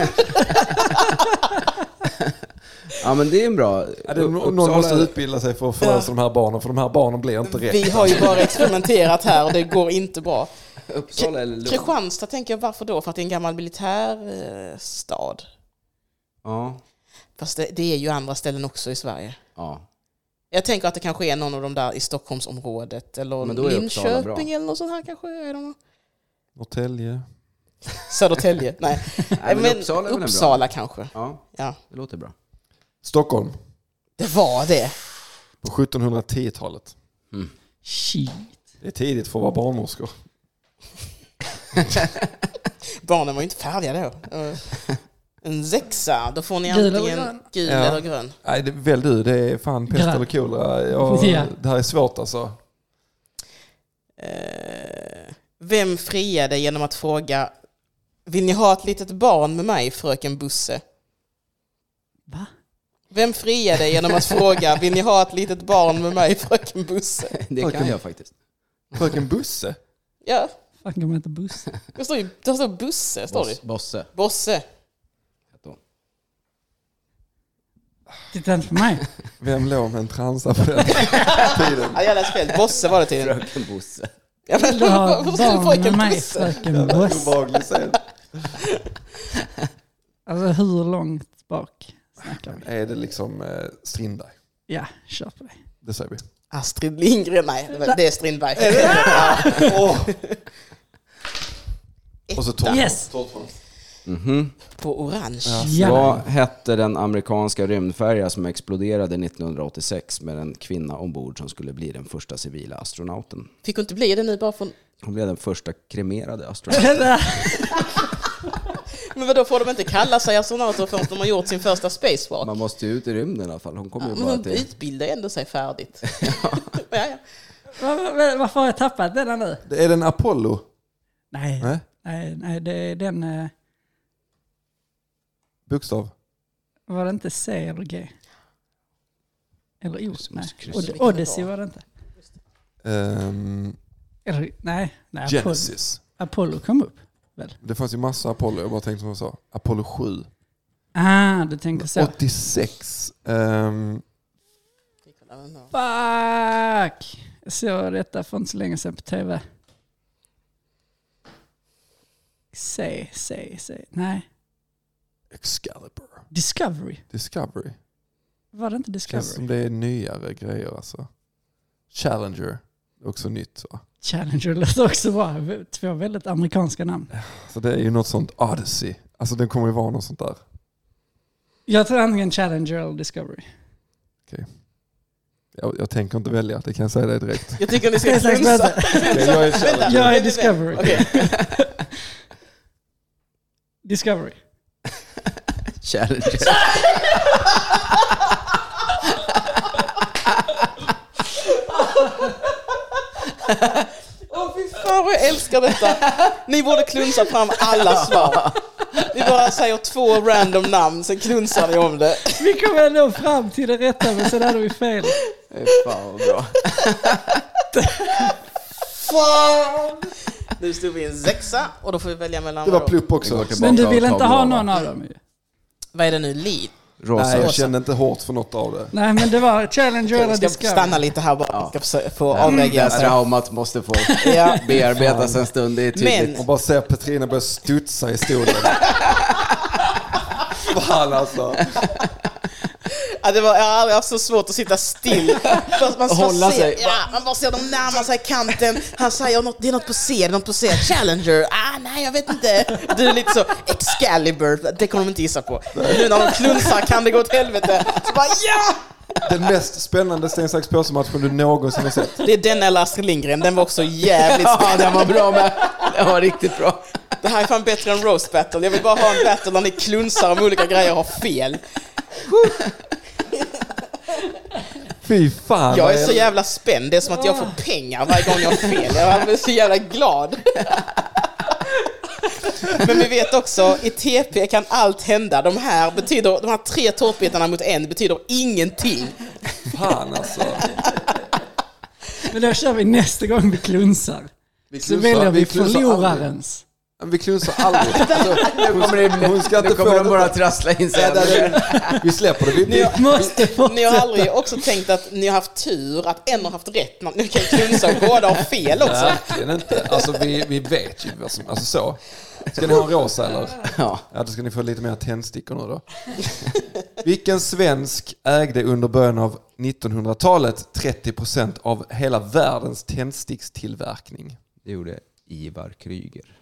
[SPEAKER 5] Ja men det är en bra...
[SPEAKER 2] Ja, det, någon måste utbilda sig för att förlösa de här barnen, för de här barnen blir inte rätt.
[SPEAKER 4] Vi har ju bara experimenterat här och det går inte bra.
[SPEAKER 5] Uppsala eller Lund.
[SPEAKER 4] Kristianstad tänker jag, varför då? För att det är en gammal militärstad.
[SPEAKER 5] Ja.
[SPEAKER 4] Fast det, det är ju andra ställen också i Sverige.
[SPEAKER 5] ja.
[SPEAKER 4] Jag tänker att det kanske är någon av de där i Stockholmsområdet eller
[SPEAKER 5] Men då är Uppsala bra.
[SPEAKER 4] Linköping eller något sånt här kanske. I don't know.
[SPEAKER 2] Norrtälje.
[SPEAKER 4] Södertälje, nej.
[SPEAKER 5] Nej,
[SPEAKER 4] men
[SPEAKER 5] Uppsala är väl en
[SPEAKER 4] Uppsala,
[SPEAKER 5] bra.
[SPEAKER 4] kanske.
[SPEAKER 5] Ja,
[SPEAKER 4] Ja.
[SPEAKER 5] det låter bra.
[SPEAKER 2] Stockholm
[SPEAKER 4] Det var det.
[SPEAKER 2] på 1710-talet.
[SPEAKER 3] Shit.
[SPEAKER 2] Det är tidigt för att vara barnmorskor.
[SPEAKER 4] Barnen var ju inte färdiga då. Eh, En sexa, då får ni
[SPEAKER 3] Gul eller
[SPEAKER 4] antingen
[SPEAKER 3] grön?
[SPEAKER 4] gul
[SPEAKER 2] Ja.
[SPEAKER 4] eller grön.
[SPEAKER 2] Nej, det, väl du, det är fan pest
[SPEAKER 3] Grön.
[SPEAKER 2] eller kolera. Jag-
[SPEAKER 3] Ja.
[SPEAKER 2] Det här är svårt alltså.
[SPEAKER 4] Eh, Vem friade genom att fråga Vill ni ha ett litet barn med mig, fröken Busse?
[SPEAKER 3] Va?
[SPEAKER 4] Vem friade genom att fråga Vill ni ha ett litet barn med mig, fröken Busse?
[SPEAKER 5] Det kan jag faktiskt.
[SPEAKER 2] Fröken Busse?
[SPEAKER 4] Ja,
[SPEAKER 3] Fan kan man inte bussa?
[SPEAKER 4] det står ju det står Busse. Står det.
[SPEAKER 5] Boss, bosse
[SPEAKER 4] Bosse.
[SPEAKER 5] hette hon.
[SPEAKER 3] Titta inte på mig.
[SPEAKER 2] Vem låg med en transa på den tiden?
[SPEAKER 4] Ja, jag läste fel. Bosse var det tydligen.
[SPEAKER 5] Fröken Bosse.
[SPEAKER 4] Ja, men,
[SPEAKER 3] Du har
[SPEAKER 4] varför skulle
[SPEAKER 3] barn med
[SPEAKER 4] fröken
[SPEAKER 3] mig,
[SPEAKER 4] Busse?
[SPEAKER 3] fröken Bosse.
[SPEAKER 2] Obehaglig scen.
[SPEAKER 3] Alltså hur långt bak snackar vi?
[SPEAKER 2] Är det liksom eh, Strindberg?
[SPEAKER 3] Ja, kör på det.
[SPEAKER 2] Det säger vi.
[SPEAKER 4] Astrid Lindgren, nej det var- det är Strindberg.
[SPEAKER 2] Och så Torp.
[SPEAKER 3] Yes!
[SPEAKER 4] På orange.
[SPEAKER 3] Ja.
[SPEAKER 5] Alltså, Vad hette den amerikanska rymdfärja som exploderade 1986 med en kvinna ombord som skulle bli den första civila astronauten?
[SPEAKER 4] Fick hon inte bli det nu bara från...
[SPEAKER 5] Hon blev den första kremerade astronauten.
[SPEAKER 4] Men vadå, får de inte kalla sig astronauter förrän de har gjort sin första spacewalk?
[SPEAKER 5] Man måste ju ut i rymden i alla fall. Hon kom ju
[SPEAKER 4] Men
[SPEAKER 5] bara
[SPEAKER 4] hon
[SPEAKER 5] till...
[SPEAKER 4] utbildar ändå sig färdigt. ja, ja.
[SPEAKER 3] Va- va- va- Varför har jag tappat denna nu?
[SPEAKER 2] Det är den Apollo?
[SPEAKER 3] Nej,
[SPEAKER 2] Nej?
[SPEAKER 3] nej, nej det är den... eh,
[SPEAKER 2] Bokstav?
[SPEAKER 3] Var det inte C eller G? Eller O? Nej.
[SPEAKER 5] kryss.
[SPEAKER 3] Od- Odyssey var det inte.
[SPEAKER 2] Ehm,
[SPEAKER 3] Eller, nej, nej Apollo,
[SPEAKER 2] Genesis.
[SPEAKER 3] Apollo kom upp. Väl?
[SPEAKER 2] Det fanns ju massa Apollo, jag bara tänkte som jag sa. Apollo 7.
[SPEAKER 3] Ah, du tänker så.
[SPEAKER 2] 86. Ehm,
[SPEAKER 3] Fuck! Jag såg detta för inte så länge sedan på tv. C, C, C. Nej.
[SPEAKER 2] Excalibur.
[SPEAKER 3] Discovery.
[SPEAKER 2] Discovery.
[SPEAKER 3] Var det inte
[SPEAKER 2] Känns som
[SPEAKER 3] Discovery?
[SPEAKER 2] det är nyare grejer alltså. Challenger. Också nytt va?
[SPEAKER 3] Challenger lät också bra. Två väldigt amerikanska namn.
[SPEAKER 2] Så Alltså, det är ju något sånt Odyssey. Alltså den kommer ju vara något sånt där.
[SPEAKER 3] Jag tror antingen Challenger eller Discovery.
[SPEAKER 2] Jag, jag tänker inte välja, det kan jag säga dig direkt.
[SPEAKER 4] Jag tycker ni
[SPEAKER 3] Det är
[SPEAKER 4] ska
[SPEAKER 3] en slags
[SPEAKER 4] slunsa.
[SPEAKER 3] bättre.
[SPEAKER 2] jag är Challenger.
[SPEAKER 3] Jag är Discovery.
[SPEAKER 4] Okej.
[SPEAKER 3] Discovery.
[SPEAKER 5] Challenger.
[SPEAKER 4] Åh fy fan vad jag älskar detta. Ni borde klunsa fram alla svar. Ni bara säger två random namn, sen klunsar ni om det.
[SPEAKER 3] Vi kom ändå fram till det rätta men sen hade vi fel.
[SPEAKER 5] Fy Fan vad bra.
[SPEAKER 3] Alltså,
[SPEAKER 4] Fan! Nu stod vi i en sexa och då får vi välja mellan
[SPEAKER 2] Det var
[SPEAKER 4] vadå?
[SPEAKER 2] plupp
[SPEAKER 5] Vi går
[SPEAKER 2] också.
[SPEAKER 5] tillbaka
[SPEAKER 3] Men du
[SPEAKER 5] och
[SPEAKER 3] vill
[SPEAKER 5] tar
[SPEAKER 3] inte ha
[SPEAKER 5] blå, va?
[SPEAKER 3] någon av dem ju.
[SPEAKER 4] Vad är det nu? Li?
[SPEAKER 5] Rosa.
[SPEAKER 2] Nej, jag kände inte hårt för något av det.
[SPEAKER 3] Nej men det var Challenger eller
[SPEAKER 4] Jag ska stanna
[SPEAKER 3] Discovery.
[SPEAKER 4] lite här bara. Jag ska försöka få
[SPEAKER 5] Mm. Det
[SPEAKER 4] avreagera
[SPEAKER 5] här
[SPEAKER 4] sig.
[SPEAKER 5] traumat måste få
[SPEAKER 4] Ja.
[SPEAKER 5] bearbetas en stund. Det är tydligt.
[SPEAKER 4] Men
[SPEAKER 2] Man bara ser Petrina börja studsa i stolen. Fan alltså.
[SPEAKER 4] Ja, det var, jag har aldrig haft så svårt att sitta still. Fast man,
[SPEAKER 5] Hålla
[SPEAKER 4] se,
[SPEAKER 5] sig.
[SPEAKER 4] Ja, man bara ser dem närma sig kanten. Han säger något, det är något på C, det är något på C. Challenger, ah, nej jag vet inte. Du är lite så, Excalibur, det kommer de inte gissa på. Nu när de klunsar kan det gå åt helvete. Så bara ja!
[SPEAKER 2] Den mest spännande sten, sax, påse-matchen du någonsin har sett.
[SPEAKER 4] Det är den eller Astrid Lindgren, den var också jävligt
[SPEAKER 5] Ja,
[SPEAKER 4] spännande.
[SPEAKER 5] den var bra med. Den var riktigt bra.
[SPEAKER 4] Det här är fan bättre än roast battle. Jag vill bara ha en battle där ni klunsar om olika grejer och har fel.
[SPEAKER 2] Fy fan.
[SPEAKER 4] Jag
[SPEAKER 2] vad
[SPEAKER 4] är så jävla spänd, det är som att jag får pengar varje gång jag har fel. Jag är så jävla glad. Men vi vet också, i TP kan allt hända. De här, betyder, de här tre tårtbitarna mot en betyder ingenting.
[SPEAKER 2] Fan alltså.
[SPEAKER 3] Men då kör vi nästa gång vi klunsar.
[SPEAKER 2] Vi
[SPEAKER 3] Så väljer vi
[SPEAKER 2] klunsar aldrig.
[SPEAKER 3] förlorarens.
[SPEAKER 2] Vi klunsar aldrig. Alltså, hon,
[SPEAKER 5] Kommer det,
[SPEAKER 2] hon ska
[SPEAKER 5] nu
[SPEAKER 2] inte
[SPEAKER 5] kommer
[SPEAKER 2] få
[SPEAKER 5] de bara
[SPEAKER 2] det.
[SPEAKER 5] trassla in sig.
[SPEAKER 2] Nej, nej, nej. Vi släpper det. Vi, vi,
[SPEAKER 3] Måste
[SPEAKER 4] Ni har aldrig också tänkt att ni har haft tur att en har haft rätt, ni kan klunsa och båda har fel också.
[SPEAKER 2] verkligen inte. Alltså vi, vi vet ju vad som... Alltså så. Ska ni ha en rosa eller?
[SPEAKER 5] Ja.
[SPEAKER 2] Ja, då ska ni få lite mer tändstickor nu då. Vilken svensk ägde under början av 1900-talet 30% av hela världens tändstickstillverkning?
[SPEAKER 5] Det gjorde Ivar Kryger.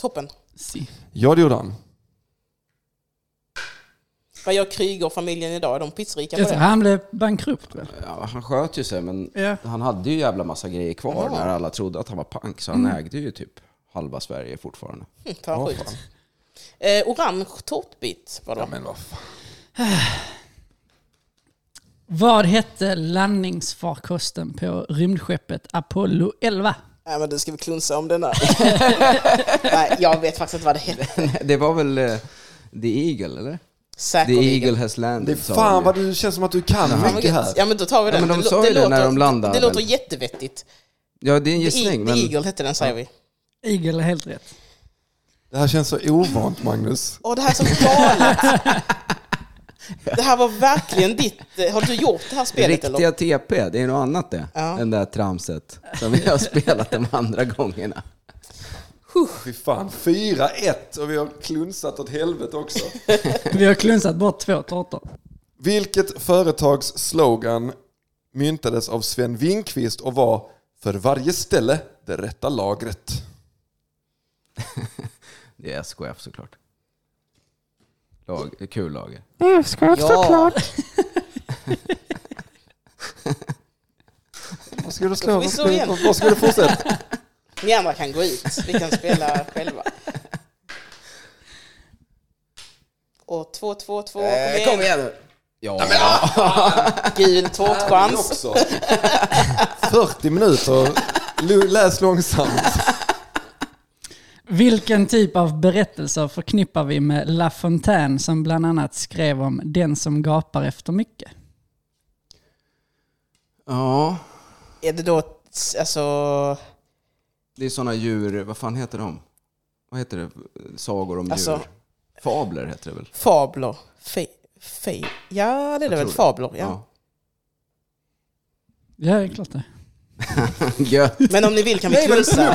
[SPEAKER 4] Toppen.
[SPEAKER 3] Si.
[SPEAKER 2] Ja, det gjorde han.
[SPEAKER 4] Vad gör Kryger-familjen idag? Är de pissrika på
[SPEAKER 3] Jag tror
[SPEAKER 4] det?
[SPEAKER 3] han blev bankrupt väl?
[SPEAKER 5] Ja, han sköt ju sig, men
[SPEAKER 3] Ja.
[SPEAKER 5] han hade ju jävla massa grejer kvar när alla trodde att han var pank. Så han ägde ju typ halva Sverige fortfarande.
[SPEAKER 4] Mm, Fan
[SPEAKER 2] Ja,
[SPEAKER 4] vad sjukt.
[SPEAKER 2] fan.
[SPEAKER 4] Eh, orange tårtbit var det.
[SPEAKER 2] Ja, men vad fan.
[SPEAKER 3] Vad hette landningsfarkosten på rymdskeppet Apollo 11?
[SPEAKER 4] Nej men det ska vi klunsa om den där. Nej, jag vet faktiskt inte vad det hette.
[SPEAKER 5] Det var väl eh, The Eagle, eller? The
[SPEAKER 4] Säkerligen.
[SPEAKER 5] Eagle has landed.
[SPEAKER 2] Det är
[SPEAKER 5] sa
[SPEAKER 2] fan
[SPEAKER 5] de
[SPEAKER 2] vad
[SPEAKER 5] ju.
[SPEAKER 2] du känns som att du kan
[SPEAKER 4] Fan, vad
[SPEAKER 2] mycket
[SPEAKER 4] gött.
[SPEAKER 2] här.
[SPEAKER 4] Ja men då tar vi
[SPEAKER 5] Ja,
[SPEAKER 4] den.
[SPEAKER 5] men de
[SPEAKER 4] lo-
[SPEAKER 5] sa ju det
[SPEAKER 4] låter-
[SPEAKER 5] när de landade,
[SPEAKER 4] Det låter
[SPEAKER 5] men-
[SPEAKER 4] jättevettigt.
[SPEAKER 5] Ja, det är en
[SPEAKER 4] The
[SPEAKER 5] gissning.
[SPEAKER 4] Eagle-
[SPEAKER 5] men...
[SPEAKER 4] The Eagle hette den säger vi.
[SPEAKER 3] Eagle är helt rätt.
[SPEAKER 2] Det här känns så ovant Magnus.
[SPEAKER 4] Åh det här är så galet. det här var verkligen ditt. eh, Har du gjort det här spelet eller?
[SPEAKER 5] Riktiga TP, det är något annat det.
[SPEAKER 4] Ja.
[SPEAKER 5] Än det där tramset som vi har spelat de andra gångerna.
[SPEAKER 2] Fy fan, 4-1 och vi har klunsat åt helvete också.
[SPEAKER 3] Vi har klunsat bort två tårtor.
[SPEAKER 2] Vilket företags slogan myntades av Sven Winqvist och var för varje ställe det rätta lagret?
[SPEAKER 5] Det är SKF såklart. Lag, kul lager.
[SPEAKER 4] Ja,
[SPEAKER 2] Vad ska du slå?
[SPEAKER 4] Då får vi
[SPEAKER 2] Vad
[SPEAKER 4] slå
[SPEAKER 2] ska
[SPEAKER 4] igen.
[SPEAKER 2] du, vad ska du fortsätta?
[SPEAKER 4] ni andra kan gå ut. Vi kan spela själva. Och två, två, två. eh,
[SPEAKER 5] Eh,
[SPEAKER 4] Kom igen.
[SPEAKER 5] nu! Ja,
[SPEAKER 4] Gul tårtchans.
[SPEAKER 2] också. 40 minuter. Lu- Läs långsamt.
[SPEAKER 3] Vilken typ av berättelser förknippar vi med La Fontaine som bland annat skrev om den som gapar efter mycket?
[SPEAKER 5] ja.
[SPEAKER 4] Är det då, ett- alltså,
[SPEAKER 5] Det är sådana djur, vad fan heter de? Vad heter det? Sagor om
[SPEAKER 4] Alltså-
[SPEAKER 5] djur? Fabler heter det väl?
[SPEAKER 4] fabler? Fe, fe, ja, det är det väl.
[SPEAKER 5] tror det.
[SPEAKER 4] Fabler, ja.
[SPEAKER 3] Ja, det är klart det.
[SPEAKER 5] Gött.
[SPEAKER 4] Men om ni vill kan vi klussa.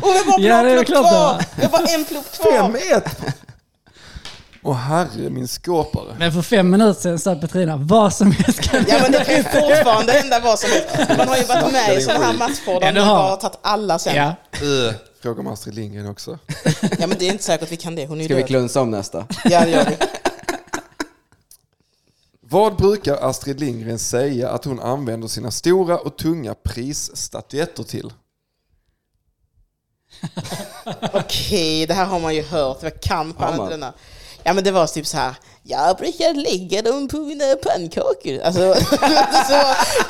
[SPEAKER 4] Och jag bara
[SPEAKER 3] Ja, det är
[SPEAKER 4] en plupp
[SPEAKER 3] klart
[SPEAKER 4] kvar!
[SPEAKER 3] det.
[SPEAKER 4] Jag bara en plupp kvar!
[SPEAKER 2] 5-1. Åh herre min skåpare.
[SPEAKER 3] Men för fem minuter sedan sa Petrina vad som helst kan
[SPEAKER 4] Ja men det kan ju fortfarande hända vad som helst. Man har ju varit med i sådana här matchpoddar
[SPEAKER 3] Ja,
[SPEAKER 4] där
[SPEAKER 3] det
[SPEAKER 4] man
[SPEAKER 3] har.
[SPEAKER 4] bara har tagit alla sen. Ja.
[SPEAKER 3] Ja.
[SPEAKER 2] Fråga om Astrid Lindgren också.
[SPEAKER 4] men det är inte säkert vi kan det, hon är ju
[SPEAKER 5] Ska vi
[SPEAKER 4] död.
[SPEAKER 5] klunsa om nästa?
[SPEAKER 4] Ja det gör vi.
[SPEAKER 2] Vad brukar Astrid Lindgren säga att hon använder sina stora och tunga prisstatyetter till?
[SPEAKER 4] Okej, det här har man ju hört. Jag kan
[SPEAKER 5] Har
[SPEAKER 4] fan
[SPEAKER 5] man?
[SPEAKER 4] inte denna. Ja men det var typ så här. Jag brukar lägga dem på mina pannkakor. Alltså, det, var,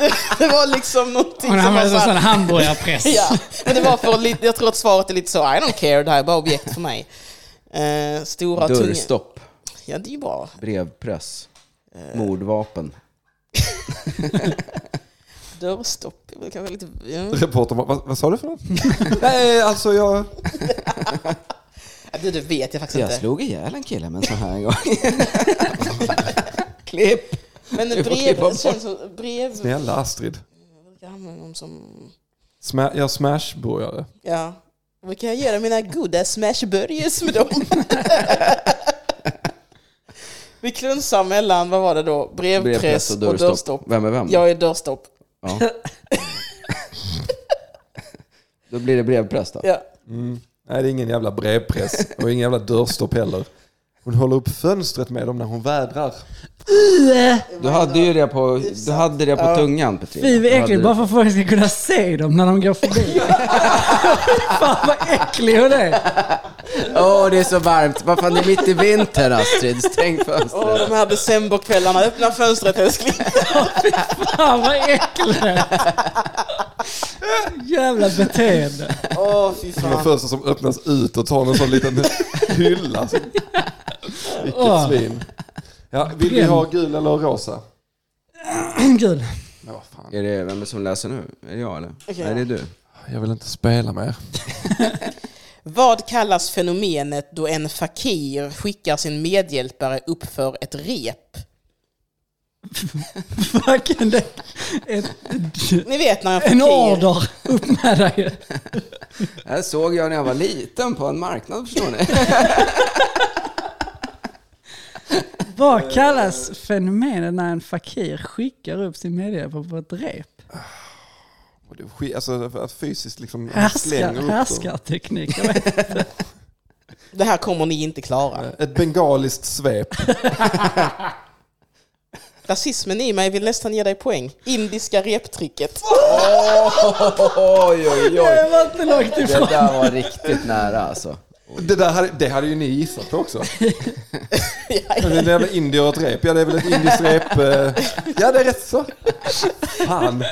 [SPEAKER 4] det, det var liksom någonting som
[SPEAKER 3] Hon
[SPEAKER 4] var så
[SPEAKER 3] använde sig av sån
[SPEAKER 4] här,
[SPEAKER 3] hamburgarpress.
[SPEAKER 4] Ja, men det var för lite, jag tror att svaret är lite så, I don't care, det här är bara objekt för mig. Eh, stora och tunga.
[SPEAKER 5] Dörrstopp,
[SPEAKER 4] Ja, det är ju bra.
[SPEAKER 5] brevpress,
[SPEAKER 4] Eh,
[SPEAKER 5] mordvapen.
[SPEAKER 4] Dörrstopp är väl kanske lite... Ja.
[SPEAKER 2] Reporter, vad, vad sa du för något? Nej, alltså jag...
[SPEAKER 4] Ja, Du, du vet jag faktiskt
[SPEAKER 5] Jag
[SPEAKER 4] inte.
[SPEAKER 5] slog ihjäl en kille med en sån här en gång. Klipp!
[SPEAKER 4] Men
[SPEAKER 5] får klippa
[SPEAKER 4] brev,
[SPEAKER 5] bort.
[SPEAKER 4] känns som, brev
[SPEAKER 2] Snälla Astrid.
[SPEAKER 4] brukar jag använda dem som...
[SPEAKER 2] Sma- jag smashburgare.
[SPEAKER 4] Ja. Vad kan jag göra mina goda smashburgers med dem? Vi klunsar mellan, vad var det då? Brevpress,
[SPEAKER 5] Brevpress och dörrstopp. Vem är vem?
[SPEAKER 4] Jag är dörrstopp.
[SPEAKER 5] Ja. Då blir det brevpress då.
[SPEAKER 4] Ja.
[SPEAKER 2] Nej, det är ingen jävla brevpress och ingen jävla dörrstopp heller. Hon håller upp fönstret med dem när hon vädrar.
[SPEAKER 5] Du hade ju det på, du hade det på tungan Petrina.
[SPEAKER 3] Fy vad
[SPEAKER 5] Du hade-
[SPEAKER 3] äckligt, bara för att folk ska kunna se dem när de går förbi. Fan vad äcklig hon är.
[SPEAKER 5] Åh, det är så varmt. Vad fan, det är mitt i vintern Astrid. Stäng
[SPEAKER 4] Åh,
[SPEAKER 5] fönstret.
[SPEAKER 4] de här decemberkvällarna, öppna fönstret älskling.
[SPEAKER 3] Fan vad äcklig. Jävla beteende.
[SPEAKER 4] Åh, fy
[SPEAKER 2] Som de
[SPEAKER 4] fan.
[SPEAKER 2] första som öppnas ut och tar en sån liten hylla. Så- Vilket
[SPEAKER 3] Åh.
[SPEAKER 2] svin. Ja, vill vi ha gul eller rosa?
[SPEAKER 3] Gud.
[SPEAKER 2] Ja, fan.
[SPEAKER 5] Är det, vem är det som läser nu? Är det jag eller?
[SPEAKER 4] Okej.
[SPEAKER 5] Nej, det är du.
[SPEAKER 2] Jag vill inte spela mer.
[SPEAKER 4] Vad kallas fenomenet då en fakir skickar sin medhjälpare upp för ett rep?
[SPEAKER 3] Fucking det. Ett,
[SPEAKER 4] Ni vet när en fakir...
[SPEAKER 3] en order. Upp med dig.
[SPEAKER 5] Det här såg jag när jag var liten på en marknad förstår ni.
[SPEAKER 3] Vad kallas fenomenet när en fakir skickar upp sin medhjälpare på ett rep?
[SPEAKER 2] Och det är skit- Alltså att fysiskt liksom slänger
[SPEAKER 3] Härskar,
[SPEAKER 2] upp dem.
[SPEAKER 3] härskarteknik. Jag vet.
[SPEAKER 4] Det här kommer ni inte klara.
[SPEAKER 2] Ett bengaliskt svep.
[SPEAKER 4] Rasismen i mig vill nästan ge dig poäng. Indiska reptricket.
[SPEAKER 5] Oj, oj, oj.
[SPEAKER 3] Jag var inte långt
[SPEAKER 5] Det
[SPEAKER 3] ifrån.
[SPEAKER 5] där var riktigt nära alltså.
[SPEAKER 2] Det, där hade, det hade ju ni gissat på också. Men Det är en jävla indier och ett rep. Ja, det är väl ett indiskt rep. eh. Ja, det är rätt så. Fan.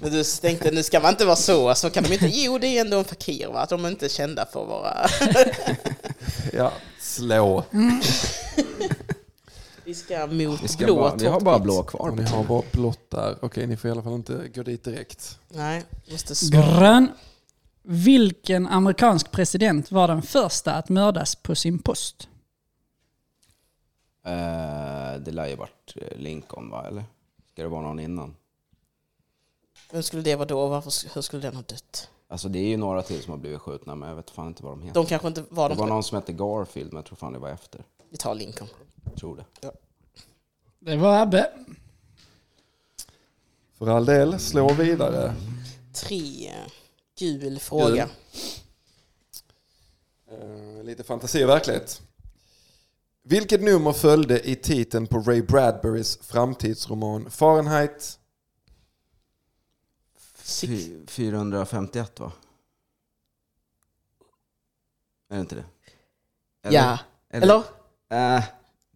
[SPEAKER 4] Men du tänkte, nu ska man inte vara så, så kan de inte... Jo, det är ändå en fakir, va? Att de inte är kända för att vara...
[SPEAKER 2] Ja, slå.
[SPEAKER 4] Vi ska mot
[SPEAKER 5] Vi, ska
[SPEAKER 4] blå
[SPEAKER 5] bara, vi har
[SPEAKER 4] torrt
[SPEAKER 5] bara
[SPEAKER 4] pizza.
[SPEAKER 5] blå
[SPEAKER 2] Och
[SPEAKER 5] kvar.
[SPEAKER 2] ni har bara blått där. Okej, ni får i alla fall inte gå dit direkt.
[SPEAKER 4] Nej, måste skapa.
[SPEAKER 3] Grön. Vilken amerikansk president var den första att mördas på sin post?
[SPEAKER 5] Eh, det lär ju varit eh, Lincoln va, eller? Ska det vara någon innan?
[SPEAKER 4] Vem skulle det vara då och varför, hur skulle den ha dött?
[SPEAKER 5] Alltså det är ju några till som har blivit skjutna men jag vet fan inte vad de heter.
[SPEAKER 4] De kanske inte var
[SPEAKER 5] Det
[SPEAKER 4] de...
[SPEAKER 5] var någon som hette Garfield men jag tror fan det var efter.
[SPEAKER 4] Vi tar Lincoln.
[SPEAKER 5] Jag tror det.
[SPEAKER 3] Det var Abbe.
[SPEAKER 2] För all del, slå vidare.
[SPEAKER 4] Tre. Gul fråga.
[SPEAKER 2] Eh, lite fantasi och verklighet. Vilket nummer följde i titeln på Ray Bradburys framtidsroman Fahrenheit?
[SPEAKER 4] Six.
[SPEAKER 5] Fy- 451 va? Är det inte det?
[SPEAKER 4] Ja. Eller?
[SPEAKER 5] Äh,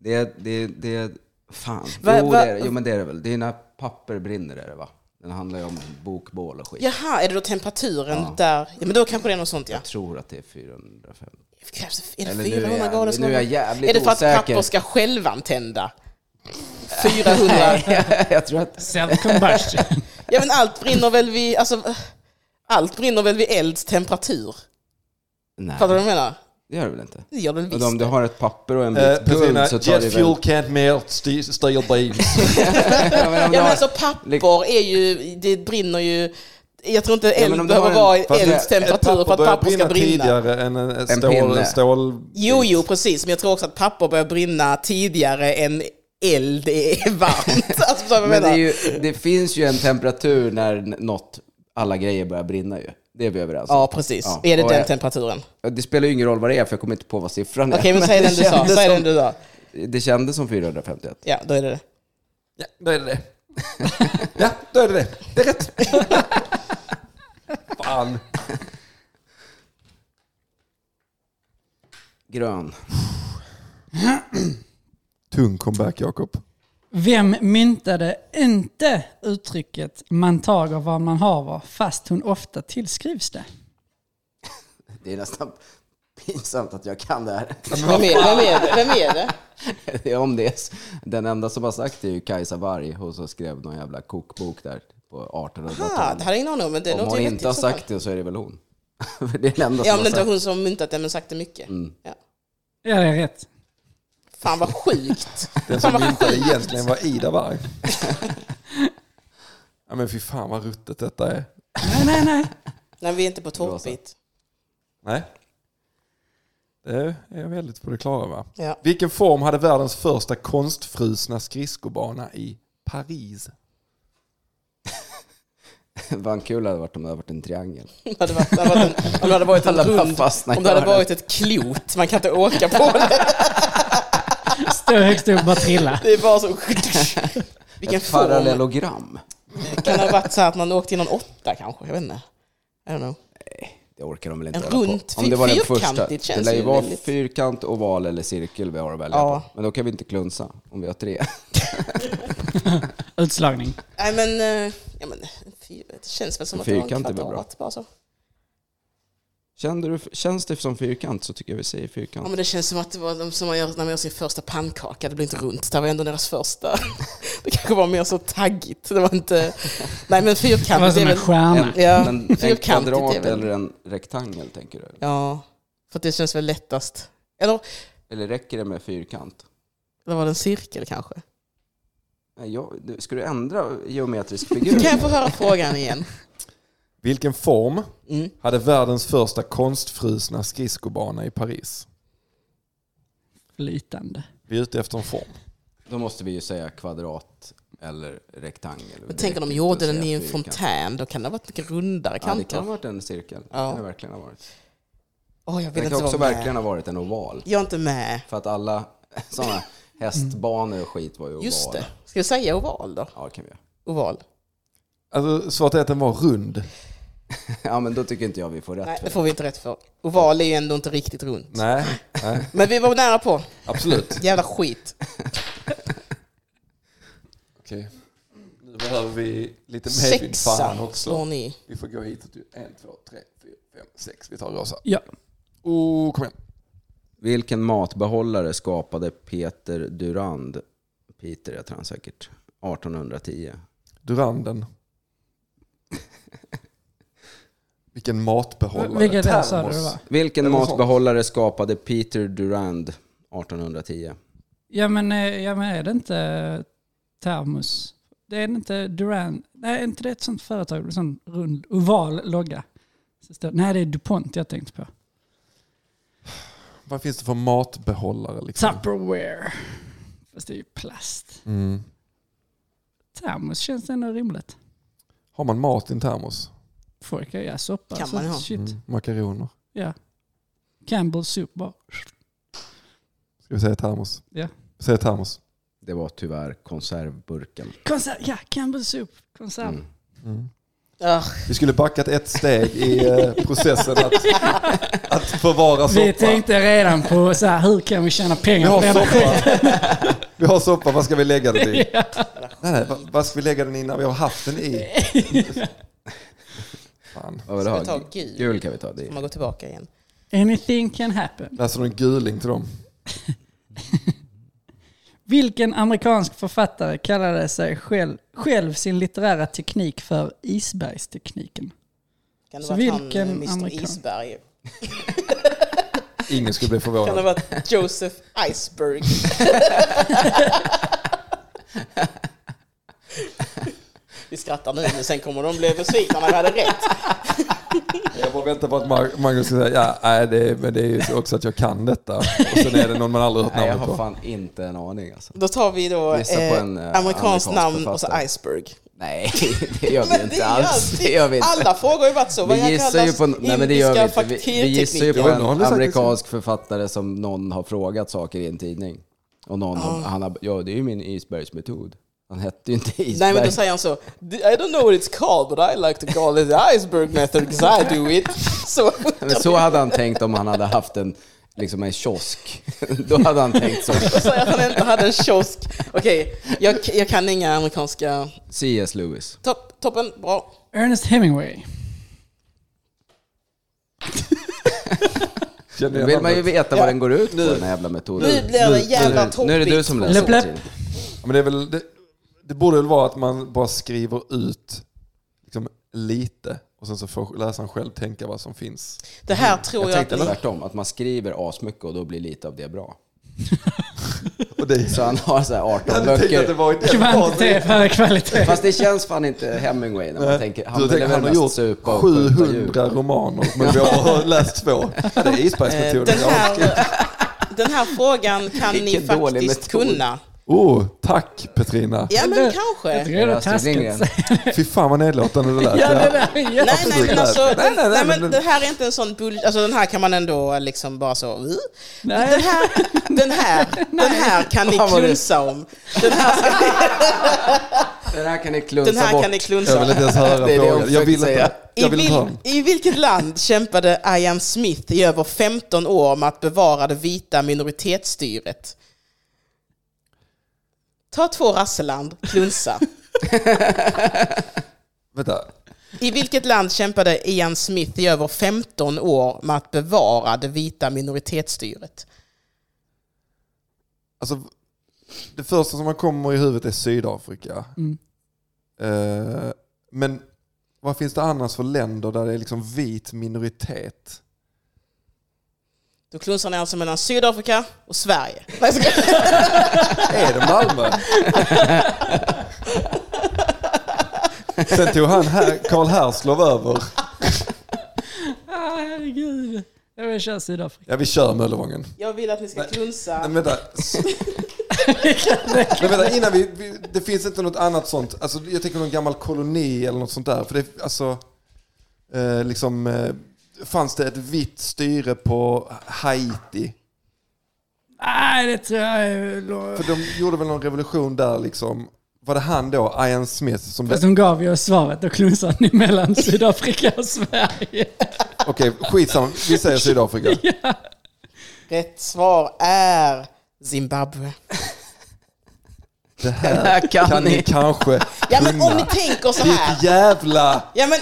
[SPEAKER 5] det, det, det, fan.
[SPEAKER 4] Va-
[SPEAKER 5] jo,
[SPEAKER 4] va-
[SPEAKER 5] Det är, det. jo men det är det väl. Det är när papper brinner är det va? Den handlar ju om bokbål och skit.
[SPEAKER 4] Jaha, är det då temperaturen
[SPEAKER 5] Ja.
[SPEAKER 4] där? Ja, men då kanske det är något sånt, ja.
[SPEAKER 5] Jag tror att det är 450.
[SPEAKER 4] Krävs det, är det
[SPEAKER 5] Eller nu är
[SPEAKER 4] 400
[SPEAKER 5] jag-
[SPEAKER 4] grader
[SPEAKER 5] nu är jag
[SPEAKER 4] snarare?
[SPEAKER 5] jävligt
[SPEAKER 4] Är det för att
[SPEAKER 5] osäker.
[SPEAKER 4] papper ska självantända? 400?
[SPEAKER 5] jag tror att...
[SPEAKER 3] Self-combustion.
[SPEAKER 4] ja men allt brinner väl vid, alltså, allt brinner väl vid elds temperatur?
[SPEAKER 5] Nej,
[SPEAKER 4] Fattar du vad jag menar?
[SPEAKER 5] det gör det väl inte?
[SPEAKER 4] Det gör det
[SPEAKER 5] Men
[SPEAKER 4] visst.
[SPEAKER 5] om du har ett papper och en bit
[SPEAKER 2] Eh,
[SPEAKER 5] guld
[SPEAKER 2] Petrina,
[SPEAKER 5] så tar det
[SPEAKER 2] jet
[SPEAKER 5] väl...
[SPEAKER 2] fuel can't melt ste- steel beams.
[SPEAKER 5] Ja, men om du
[SPEAKER 4] Ja men
[SPEAKER 5] har-
[SPEAKER 4] alltså papper är ju, det brinner ju, jag tror inte
[SPEAKER 5] men
[SPEAKER 4] eld
[SPEAKER 5] om du
[SPEAKER 4] behöver
[SPEAKER 5] har en-
[SPEAKER 4] vara i
[SPEAKER 5] fast
[SPEAKER 4] elds
[SPEAKER 5] det-
[SPEAKER 2] Ett
[SPEAKER 4] temperatur för att
[SPEAKER 2] börjar
[SPEAKER 4] papper ska brinna.
[SPEAKER 2] tidigare än en, en stål...
[SPEAKER 5] pinne.
[SPEAKER 2] En stål
[SPEAKER 4] Jo, jo, precis. Men jag tror också att papper börjar brinna tidigare än eld är varmt. Alltså, förstår du vad jag
[SPEAKER 5] Men det,
[SPEAKER 4] menar?
[SPEAKER 5] är ju, det finns ju en temperatur när n- något, alla grejer börjar brinna ju. Det är vi överens om.
[SPEAKER 4] Ja, precis.
[SPEAKER 5] Ja.
[SPEAKER 4] Är det
[SPEAKER 5] Och
[SPEAKER 4] den
[SPEAKER 5] jag-
[SPEAKER 4] temperaturen?
[SPEAKER 5] Det spelar ju ingen roll vad det är för jag kommer inte på vad siffran är.
[SPEAKER 4] Okej, men säg den du sa.
[SPEAKER 5] kändes
[SPEAKER 4] Säg den
[SPEAKER 5] som-
[SPEAKER 4] du sa.
[SPEAKER 5] Det kändes som 451.
[SPEAKER 4] Ja, då är det det.
[SPEAKER 2] Ja, då är det det. ja, då är det det. Det är rätt. Fan.
[SPEAKER 5] Grön.
[SPEAKER 2] Tung comeback, Jakob.
[SPEAKER 3] Vem myntade inte uttrycket man tager vad man haver fast hon ofta tillskrivs det?
[SPEAKER 5] Det är nästan pinsamt att jag kan det här.
[SPEAKER 4] Vem är, vem är det? Vem är det?
[SPEAKER 5] Det är Om det är, s- den enda som har sagt det är ju Kajsa Warg. Hon som skrev någon jävla kokbok där på 1800-talet.
[SPEAKER 4] Ah, det hade jag ingen aning om, men det
[SPEAKER 5] Om
[SPEAKER 4] låter
[SPEAKER 5] hon
[SPEAKER 4] ju
[SPEAKER 5] inte har
[SPEAKER 4] vettigt i så fall.
[SPEAKER 5] sagt det så är det väl hon. För det är den enda
[SPEAKER 4] Ja,
[SPEAKER 5] som
[SPEAKER 4] om
[SPEAKER 5] har
[SPEAKER 4] det inte
[SPEAKER 5] sagt
[SPEAKER 4] var
[SPEAKER 5] Mm. det.
[SPEAKER 4] hon som myntat det, men sagt det mycket. Ja.
[SPEAKER 3] Ja, det är rätt.
[SPEAKER 4] Fan vad sjukt.
[SPEAKER 2] Den som myntade egentligen var Ida Varg. Ja men fy fan vad ruttet detta är.
[SPEAKER 3] Nej, nej, nej.
[SPEAKER 4] Nej, vi är inte på
[SPEAKER 5] var så.
[SPEAKER 4] tårtbit.
[SPEAKER 2] Nej. Det är jag väldigt på det klara va?
[SPEAKER 4] Ja.
[SPEAKER 2] Vilken form hade världens första konstfrusna skridskobana i Paris?
[SPEAKER 5] Vad kul det hade varit om det hade varit en triangel.
[SPEAKER 4] Om det hade varit, det hade varit en, om det hade varit en
[SPEAKER 5] Alla bara
[SPEAKER 4] rund,
[SPEAKER 5] fastnar i
[SPEAKER 4] om det hade
[SPEAKER 5] hörnen.
[SPEAKER 4] varit ett klot, man kan inte åka på det.
[SPEAKER 3] Stå högst upp och bara trilla.
[SPEAKER 4] Det är bara så... Vilken
[SPEAKER 5] Ett
[SPEAKER 4] form.
[SPEAKER 5] parallellogram.
[SPEAKER 4] Kan det ha varit så här att man åkte i någon åtta kanske? Jag vet inte. I don't know.
[SPEAKER 5] Det orkar de väl inte
[SPEAKER 4] En
[SPEAKER 5] hålla på.
[SPEAKER 4] runt
[SPEAKER 5] Om det var den
[SPEAKER 4] fyrkantigt
[SPEAKER 5] första. Det
[SPEAKER 4] känns
[SPEAKER 5] lär ju
[SPEAKER 4] ju
[SPEAKER 5] vara
[SPEAKER 4] väldigt-
[SPEAKER 5] fyrkant, oval eller cirkel vi har att välja
[SPEAKER 4] Ja.
[SPEAKER 5] på. Men då kan vi inte klunsa om vi har tre.
[SPEAKER 3] Utslagning.
[SPEAKER 4] Nej men, eh, ja, men fy, Det känns väl som att
[SPEAKER 5] Fyrkant är
[SPEAKER 4] det
[SPEAKER 5] väl
[SPEAKER 4] var
[SPEAKER 5] bra.
[SPEAKER 4] en kvadrat bara så.
[SPEAKER 5] Kände du, känns det som fyrkant så tycker jag vi säger fyrkant.
[SPEAKER 4] Ja, men det känns som att det var de som man gör när man gör sin första pannkaka, det blir inte runt. Det här var ändå deras första. Det kanske var mer så taggigt. Det var inte... Nej men
[SPEAKER 3] Det var
[SPEAKER 4] fyrkant är
[SPEAKER 3] som en
[SPEAKER 4] väl...
[SPEAKER 3] stjärna.
[SPEAKER 5] en,
[SPEAKER 4] Ja,
[SPEAKER 5] men en
[SPEAKER 4] fyrkantigt är
[SPEAKER 5] kvadrat
[SPEAKER 4] väl-
[SPEAKER 5] eller en rektangel tänker du?
[SPEAKER 4] Ja, för att det känns väl lättast. Eller,
[SPEAKER 5] Eller räcker det med fyrkant?
[SPEAKER 4] eller var det en cirkel kanske?
[SPEAKER 5] Nej, jag, du- ska du ändra geometrisk
[SPEAKER 4] Kan
[SPEAKER 5] figur?
[SPEAKER 4] jag få höra frågan igen?
[SPEAKER 2] Vilken form
[SPEAKER 4] Mm.
[SPEAKER 2] hade världens första konstfrusna skridskobana i Paris?
[SPEAKER 3] Flytande.
[SPEAKER 2] Vi är ute efter en form.
[SPEAKER 5] Då måste vi ju säga kvadrat eller rektangel.
[SPEAKER 4] Men tänk om de gjorde den i en fontän, då kan det ha varit mycket rundare
[SPEAKER 5] Ja, det kan
[SPEAKER 4] kanter.
[SPEAKER 5] ha varit en cirkel.
[SPEAKER 4] Ja.
[SPEAKER 5] Det kan det verkligen ha varit.
[SPEAKER 4] Åh, jag vill
[SPEAKER 5] Det
[SPEAKER 4] inte
[SPEAKER 5] kan
[SPEAKER 4] vara
[SPEAKER 5] också
[SPEAKER 4] med.
[SPEAKER 5] verkligen ha varit en oval.
[SPEAKER 4] Jag är inte med.
[SPEAKER 5] För att alla sådana hästbanor och skit var ju ovala.
[SPEAKER 4] Mm. Just det. Ska vi säga oval då?
[SPEAKER 5] Ja, det kan vi göra.
[SPEAKER 4] Oval.
[SPEAKER 2] Alltså, svaret är att den var rund.
[SPEAKER 5] Ja, men då tycker inte jag vi får rätt
[SPEAKER 4] Nej,
[SPEAKER 5] för
[SPEAKER 4] det
[SPEAKER 5] det.
[SPEAKER 4] får vi inte rätt för. Oval är ju ändå inte riktigt runt.
[SPEAKER 2] Nej, nej
[SPEAKER 4] Men vi var nära på.
[SPEAKER 2] absolut.
[SPEAKER 4] Jävla skit.
[SPEAKER 2] Okej. Nu behöver vi lite medvind fan
[SPEAKER 4] Sexa slår
[SPEAKER 2] också.
[SPEAKER 4] ni.
[SPEAKER 2] Vi får gå hit. till En, två, tre, fyra, fem, sex. Vi tar rosa.
[SPEAKER 3] Ja.
[SPEAKER 2] Oh, kom igen.
[SPEAKER 5] Vilken matbehållare skapade Peter Durand? Peter heter han säkert. 1810.
[SPEAKER 2] Duranden. Vilken matbehållare.
[SPEAKER 3] Vilket är det, sa du
[SPEAKER 2] Termos.
[SPEAKER 3] det var?
[SPEAKER 5] Vilken
[SPEAKER 2] Eller något
[SPEAKER 5] matbehållare skapade Peter Durand 1810?
[SPEAKER 3] Ja men, eh, ja men är det inte eh, termos? Det är inte Duran? Nej, är inte det ett sånt företag? En sån rund, oval logga? Så står- Nej, det är DuPont jag tänkte på.
[SPEAKER 2] Vad finns det för matbehållare? Liksom?
[SPEAKER 3] Tupperware. Fast det är ju plast.
[SPEAKER 2] Mm.
[SPEAKER 3] Termos känns ändå rimligt.
[SPEAKER 2] Har man mat i en termos?
[SPEAKER 3] Folk kan göra soppa.
[SPEAKER 4] Kan
[SPEAKER 3] så
[SPEAKER 4] man ha.
[SPEAKER 3] Shit.
[SPEAKER 2] Mm. Makaroner.
[SPEAKER 3] Ja. Campbell's soup bara.
[SPEAKER 2] Ska vi säga termos?
[SPEAKER 3] Ja.
[SPEAKER 2] Vi säger termos.
[SPEAKER 5] Det var tyvärr konservburken.
[SPEAKER 3] Konserv, ja, Campbell's soup. Konserv.
[SPEAKER 5] Mm.
[SPEAKER 2] Mm.
[SPEAKER 4] Ah,
[SPEAKER 2] Vi skulle backat ett steg i eh, processen att, att förvara
[SPEAKER 3] Vi
[SPEAKER 2] soppa.
[SPEAKER 3] tänkte redan på så här, hur kan vi tjäna
[SPEAKER 2] Vi
[SPEAKER 3] pengar
[SPEAKER 2] har
[SPEAKER 3] på denna skit?
[SPEAKER 2] soppa. Vi har soppa, vad ska vi lägga den i? Nej, nej, vad- vad ska vi lägga den i när vi har haft den i? Fan.
[SPEAKER 5] Vad vill du
[SPEAKER 4] Ska
[SPEAKER 5] ha?
[SPEAKER 4] vi ta gul?
[SPEAKER 5] Gul kan vi ta. Det är
[SPEAKER 4] man går tillbaka igen.
[SPEAKER 3] Anything can happen.
[SPEAKER 2] Läser du en guling till dem?
[SPEAKER 3] Vilken amerikansk författare kallade sig själv, själv sin litterära teknik för isbergstekniken?
[SPEAKER 4] Kan det
[SPEAKER 3] Så
[SPEAKER 4] vara att han,
[SPEAKER 3] vilken
[SPEAKER 4] eh, Mr
[SPEAKER 3] amerikan?
[SPEAKER 4] Isberg?
[SPEAKER 2] Ingen skulle bli
[SPEAKER 4] Kan det
[SPEAKER 2] förvånad.
[SPEAKER 4] vara att Joseph Iceberg? Vi skrattar nu, men sen kommer de bli besvikna när vi hade rätt.
[SPEAKER 2] Jag bara väntar på att Mag- Magnus ska säga ja, nej, det, men det är ju så också att jag kan detta. Och sen är det någon man aldrig hört
[SPEAKER 5] Nej, jag
[SPEAKER 2] namnet
[SPEAKER 5] har
[SPEAKER 2] på.
[SPEAKER 5] fan inte en aning alltså.
[SPEAKER 4] Då tar vi då
[SPEAKER 5] Gissa på
[SPEAKER 4] eh,
[SPEAKER 5] en, eh,
[SPEAKER 4] amerikanskt
[SPEAKER 5] amerikansk
[SPEAKER 4] namn och så
[SPEAKER 5] författare.
[SPEAKER 4] Iceberg.
[SPEAKER 5] Nej, det gör vi
[SPEAKER 4] Men det
[SPEAKER 5] inte
[SPEAKER 4] är
[SPEAKER 5] alls.
[SPEAKER 4] alltid-
[SPEAKER 5] Det gör vi inte.
[SPEAKER 4] Alla frågor har ju varit så. Vad
[SPEAKER 5] Vi
[SPEAKER 4] jag
[SPEAKER 5] gissar ju på,
[SPEAKER 4] kallas
[SPEAKER 5] nej, men det gör vi,
[SPEAKER 4] indiska
[SPEAKER 5] inte. vi, vi gissar ju på
[SPEAKER 4] fakturtekniker.
[SPEAKER 2] Ja,
[SPEAKER 5] en
[SPEAKER 2] någon har sagt det.
[SPEAKER 5] amerikansk författare som någon har frågat saker i en tidning. Och någon
[SPEAKER 4] Ah.
[SPEAKER 5] har, han har, ja det är ju min isbergsmetod. Han hette ju inte isberg.
[SPEAKER 4] Nej men då säger han så. I don't know what it's called but I like to call it the iceberg method because I do it. Så,
[SPEAKER 5] Men så hade han tänkt om han hade haft en, liksom en kiosk. Då hade han tänkt så.
[SPEAKER 4] och säger att han inte hade en kiosk. Okej, jag, jag kan inga amerikanska...
[SPEAKER 5] C.S. Lewis.
[SPEAKER 4] Topp, toppen, bra.
[SPEAKER 3] Ernest Hemingway.
[SPEAKER 2] Känner
[SPEAKER 5] Då
[SPEAKER 2] jag
[SPEAKER 5] vill man ju
[SPEAKER 2] namnet?
[SPEAKER 5] veta
[SPEAKER 4] Ja.
[SPEAKER 5] vad den går ut på, den här jävla metoden.
[SPEAKER 4] Nu blir det jävla
[SPEAKER 5] nu, nu är det du som läser.
[SPEAKER 3] Läpp, läpp.
[SPEAKER 5] Martin.
[SPEAKER 2] Ja, Men det, är väl, det, det borde väl vara att man bara skriver ut liksom, lite och sen så får läsaren själv tänka vad som finns.
[SPEAKER 4] Det här tror
[SPEAKER 5] Mm. Jag
[SPEAKER 4] jag,
[SPEAKER 5] tänkte
[SPEAKER 4] att ni...
[SPEAKER 5] tvärtom, att man skriver asmycket och då blir lite av det bra.
[SPEAKER 2] Och det,
[SPEAKER 5] Så han har så här 18
[SPEAKER 2] jag hade tänkt att det
[SPEAKER 5] böcker.
[SPEAKER 2] var i den
[SPEAKER 3] Kvantitet före kvalitet.
[SPEAKER 5] Fast det känns fan inte Hemingway när man
[SPEAKER 2] Nej.
[SPEAKER 5] tänker,
[SPEAKER 2] Du
[SPEAKER 5] han ville
[SPEAKER 2] tänker,
[SPEAKER 5] väl
[SPEAKER 2] han har
[SPEAKER 5] mest
[SPEAKER 2] gjort
[SPEAKER 5] supa och skjuta djur.
[SPEAKER 2] 700 romaner, men vi har läst två. Ja, det är
[SPEAKER 4] Eh,
[SPEAKER 2] isbergsmetoden.
[SPEAKER 4] Den
[SPEAKER 2] Jag har
[SPEAKER 4] här, den här frågan kan ni
[SPEAKER 5] Vilken dålig
[SPEAKER 4] faktiskt
[SPEAKER 5] metod.
[SPEAKER 4] kunna.
[SPEAKER 2] Oh, tack Petrina.
[SPEAKER 4] Ja men
[SPEAKER 3] Det-
[SPEAKER 4] kanske.
[SPEAKER 3] Jag tycker det är
[SPEAKER 5] Astrid Lindgren.
[SPEAKER 3] taskigt.
[SPEAKER 2] Fy fan vad nedlåtande det lät.
[SPEAKER 3] Ja,
[SPEAKER 2] Ja.
[SPEAKER 3] det där är jätte-
[SPEAKER 4] Nej, nej, men alltså,
[SPEAKER 2] Nej, nej,
[SPEAKER 4] den,
[SPEAKER 2] nej,
[SPEAKER 4] nej,
[SPEAKER 2] men
[SPEAKER 4] men
[SPEAKER 2] den-
[SPEAKER 4] den här är inte en sån bull... Alltså den här kan man ändå liksom bara så... "Uh."
[SPEAKER 3] Nej.
[SPEAKER 4] Den här, den här, den här kan ni
[SPEAKER 5] Fan, vad det-
[SPEAKER 4] klunsa om. Den här, ska,
[SPEAKER 5] Den här kan ni klunsa
[SPEAKER 4] den här
[SPEAKER 5] bort.
[SPEAKER 4] kan ni
[SPEAKER 2] Jag
[SPEAKER 4] klunsa
[SPEAKER 2] vill
[SPEAKER 4] om.
[SPEAKER 2] inte ens höra
[SPEAKER 5] Det är det jag
[SPEAKER 2] frågan. Jag
[SPEAKER 5] försökte
[SPEAKER 2] vill inte,
[SPEAKER 5] säga.
[SPEAKER 2] jag
[SPEAKER 4] I,
[SPEAKER 2] vill inte höra.
[SPEAKER 4] vil,
[SPEAKER 2] den.
[SPEAKER 4] I vilket land kämpade Ian Smith i över 15 år med att bevara det vita minoritetsstyret? Ta två rasseland, klunsa.
[SPEAKER 2] Vänta.
[SPEAKER 4] I vilket land kämpade Ian Smith i över 15 år med att bevara det vita minoritetsstyret?
[SPEAKER 2] Alltså, det första som man kommer i huvudet är Sydafrika.
[SPEAKER 3] Mm.
[SPEAKER 2] Eh, men vad finns det annars för länder där det är liksom vit minoritet?
[SPEAKER 4] Då klunsar ni alltså mellan Sydafrika och Sverige. Nej, jag skojar.
[SPEAKER 2] Är det Malmö? Sen tog han här, Karl Herslov över.
[SPEAKER 3] Ah, herregud. Jag vill köra Sydafrika.
[SPEAKER 2] Ja, vi kör Möllevången.
[SPEAKER 4] Jag vill att ni ska
[SPEAKER 2] Nej,
[SPEAKER 4] klunsa.
[SPEAKER 2] vänta. Men vänta, innan vi, vi, det finns inte något annat sånt. Alltså, jag tänker någon gammal koloni eller något sånt där. För det, alltså, eh, liksom, eh, fanns det ett vitt styre på Haiti?
[SPEAKER 3] Nej, det tror jag är... lo-
[SPEAKER 2] För de gjorde väl någon revolution där liksom. Var det han då, Ian Smith, som...
[SPEAKER 3] Fast de gav ju oss svaret, då klunsade ni mellan Sydafrika och Sverige.
[SPEAKER 4] Alltså-
[SPEAKER 2] Okej, skitsamma. Vi säger Sydafrika.
[SPEAKER 4] Rätt svar är Zimbabwe.
[SPEAKER 2] Det här
[SPEAKER 5] här kan,
[SPEAKER 2] kan ni kanske
[SPEAKER 4] Ja men om
[SPEAKER 2] kunna.
[SPEAKER 4] ni tänker så
[SPEAKER 2] Ditt
[SPEAKER 4] här.
[SPEAKER 2] jävla...
[SPEAKER 4] Ja men,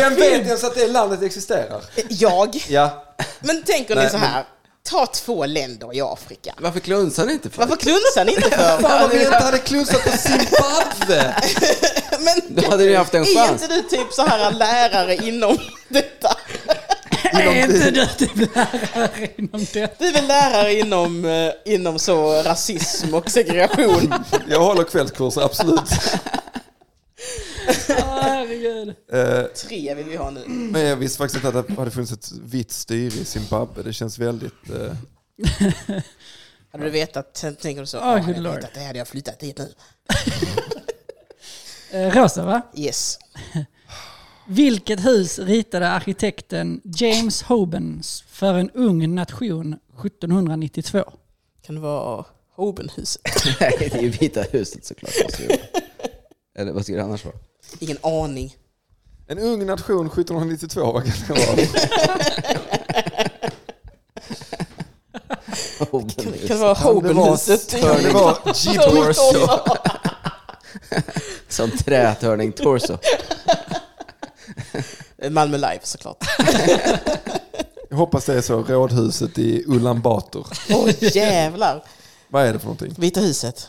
[SPEAKER 2] Vem vet ens att det landet existerar?
[SPEAKER 4] jag.
[SPEAKER 2] Ja.
[SPEAKER 4] Men tänker ni
[SPEAKER 2] Nej,
[SPEAKER 4] så här. Ta två länder i Afrika.
[SPEAKER 5] Varför klunsar ni inte för?
[SPEAKER 4] Varför klunsar ni inte för?
[SPEAKER 2] Fan vad vi inte hade klunsat på Zimbabwe!
[SPEAKER 4] Men,
[SPEAKER 5] Då hade ni haft en
[SPEAKER 4] är
[SPEAKER 5] chans.
[SPEAKER 4] inte du typ så här lärare inom detta?
[SPEAKER 3] Är inte du typ lärare inom det?
[SPEAKER 4] Du är väl lärare inom, eh, inom så rasism och segregation?
[SPEAKER 2] Jag håller kvällskurser, absolut.
[SPEAKER 3] Ah, herregud.
[SPEAKER 2] Eh,
[SPEAKER 4] Tre vill vi ha nu.
[SPEAKER 2] Men jag visste faktiskt inte att det hade funnits ett vitt styre i Zimbabwe. Det känns väldigt... eh,
[SPEAKER 4] Hade du vetat, sen tänker du så,
[SPEAKER 3] Oh,
[SPEAKER 4] "Ah, hade
[SPEAKER 3] good
[SPEAKER 4] jag
[SPEAKER 3] lord."
[SPEAKER 4] vetat det hade jag flyttat dit nu.
[SPEAKER 3] Eh, Rosa, va?
[SPEAKER 4] Yes.
[SPEAKER 3] Vilket hus ritade arkitekten James Hobens för en ung nation 1792?
[SPEAKER 4] Kan det vara Hobenhuset?
[SPEAKER 5] Nej, det är ju Vita huset såklart. måste det vara. Eller vad skulle det annars vara?
[SPEAKER 4] Ingen aning.
[SPEAKER 2] En ung nation 1792, vad kan det vara?
[SPEAKER 5] Hoben
[SPEAKER 4] Kan det vara Hobenhuset?
[SPEAKER 2] Kan det vara G-Torso?
[SPEAKER 5] torso. Som trätörning torso.
[SPEAKER 4] Malmö Live såklart.
[SPEAKER 2] Jag hoppas det är så, rådhuset i Ulan Bator.
[SPEAKER 4] Åh jävlar.
[SPEAKER 2] Vad är det för någonting?
[SPEAKER 4] Vita huset.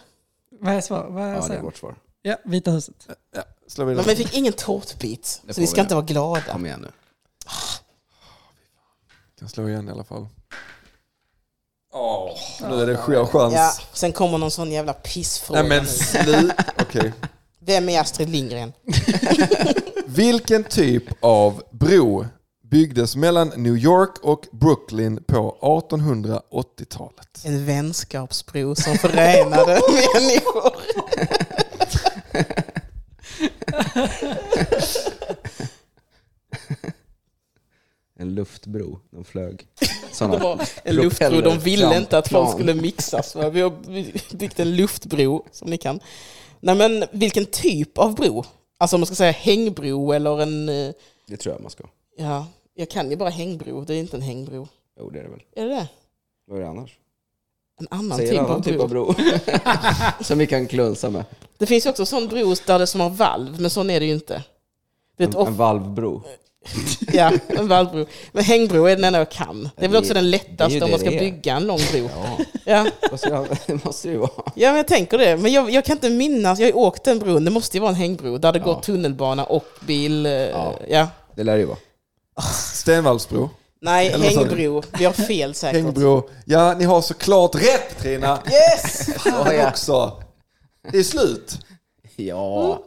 [SPEAKER 3] Vad är svar? Vad
[SPEAKER 5] Ja, det är
[SPEAKER 3] är
[SPEAKER 5] vårt svar.
[SPEAKER 3] ja, Vita huset.
[SPEAKER 2] Ja, slå
[SPEAKER 4] Men vi
[SPEAKER 2] vidare.
[SPEAKER 4] fick ingen tårtbit.
[SPEAKER 5] Det
[SPEAKER 4] Så
[SPEAKER 5] får
[SPEAKER 4] vi
[SPEAKER 5] vi.
[SPEAKER 4] ska inte vara glada.
[SPEAKER 5] Kom igen nu.
[SPEAKER 2] kan slå igen i alla fall. Åh, nu är det skör chans.
[SPEAKER 4] Ja, sen kommer någon sån jävla pissfråga
[SPEAKER 2] Nej men
[SPEAKER 4] nu.
[SPEAKER 2] slut. Okej.
[SPEAKER 4] Vem är Astrid Lindgren?
[SPEAKER 2] Vilken typ av bro byggdes mellan New York och Brooklyn på 1880-talet?
[SPEAKER 4] En vänskapsbro som förenade människor.
[SPEAKER 5] En luftbro. De flög. Såna.
[SPEAKER 4] Det var en luftbro. De ville inte att folk skulle mixas. va? Vi har byggt en luftbro som ni kan. Nej men vilken typ av bro? Alltså om man ska säga hängbro eller en... eh,
[SPEAKER 5] Det tror jag man ska.
[SPEAKER 4] Ja, jag kan ju bara hängbro. Det är inte en hängbro.
[SPEAKER 5] Jo, det är det väl.
[SPEAKER 4] Är det det?
[SPEAKER 5] Vad är det annars?
[SPEAKER 4] En annan,
[SPEAKER 5] Säg
[SPEAKER 4] typ,
[SPEAKER 5] en
[SPEAKER 4] av
[SPEAKER 5] annan typ
[SPEAKER 4] bro.
[SPEAKER 5] av bro. Som vi kan klunsa med.
[SPEAKER 4] Det finns ju också sån bro där det som har valv, men sån är det ju inte. Det är
[SPEAKER 5] En,
[SPEAKER 4] ett
[SPEAKER 5] en
[SPEAKER 4] off-
[SPEAKER 5] valvbro.
[SPEAKER 4] ja, en valvbro. Men hängbro är den enda jag kan. Det är väl också den
[SPEAKER 5] det är ju
[SPEAKER 4] lättaste om
[SPEAKER 5] det
[SPEAKER 4] man ska
[SPEAKER 5] det är.
[SPEAKER 4] bygga en lång bro.
[SPEAKER 5] Ja,
[SPEAKER 4] Ja.
[SPEAKER 5] vad ska jag- det måste ju vara.
[SPEAKER 4] Ja, men jag tänker det. Men jag, jag kan inte minnas. Jag har ju åkt den bron. Det måste ju vara en hängbro där det
[SPEAKER 5] Ja.
[SPEAKER 4] går tunnelbana och bil. eh,
[SPEAKER 5] Ja.
[SPEAKER 4] Ja.
[SPEAKER 5] Det lär det ju vara.
[SPEAKER 2] Stenvallsbro,
[SPEAKER 4] Nej,
[SPEAKER 2] Eller vad sa du?
[SPEAKER 4] hängbro. Vi har fel säkert.
[SPEAKER 2] hängbro. Ja, ni har såklart rätt Trina!
[SPEAKER 4] Yes!
[SPEAKER 2] Fan också! Det är slut.
[SPEAKER 5] Ja.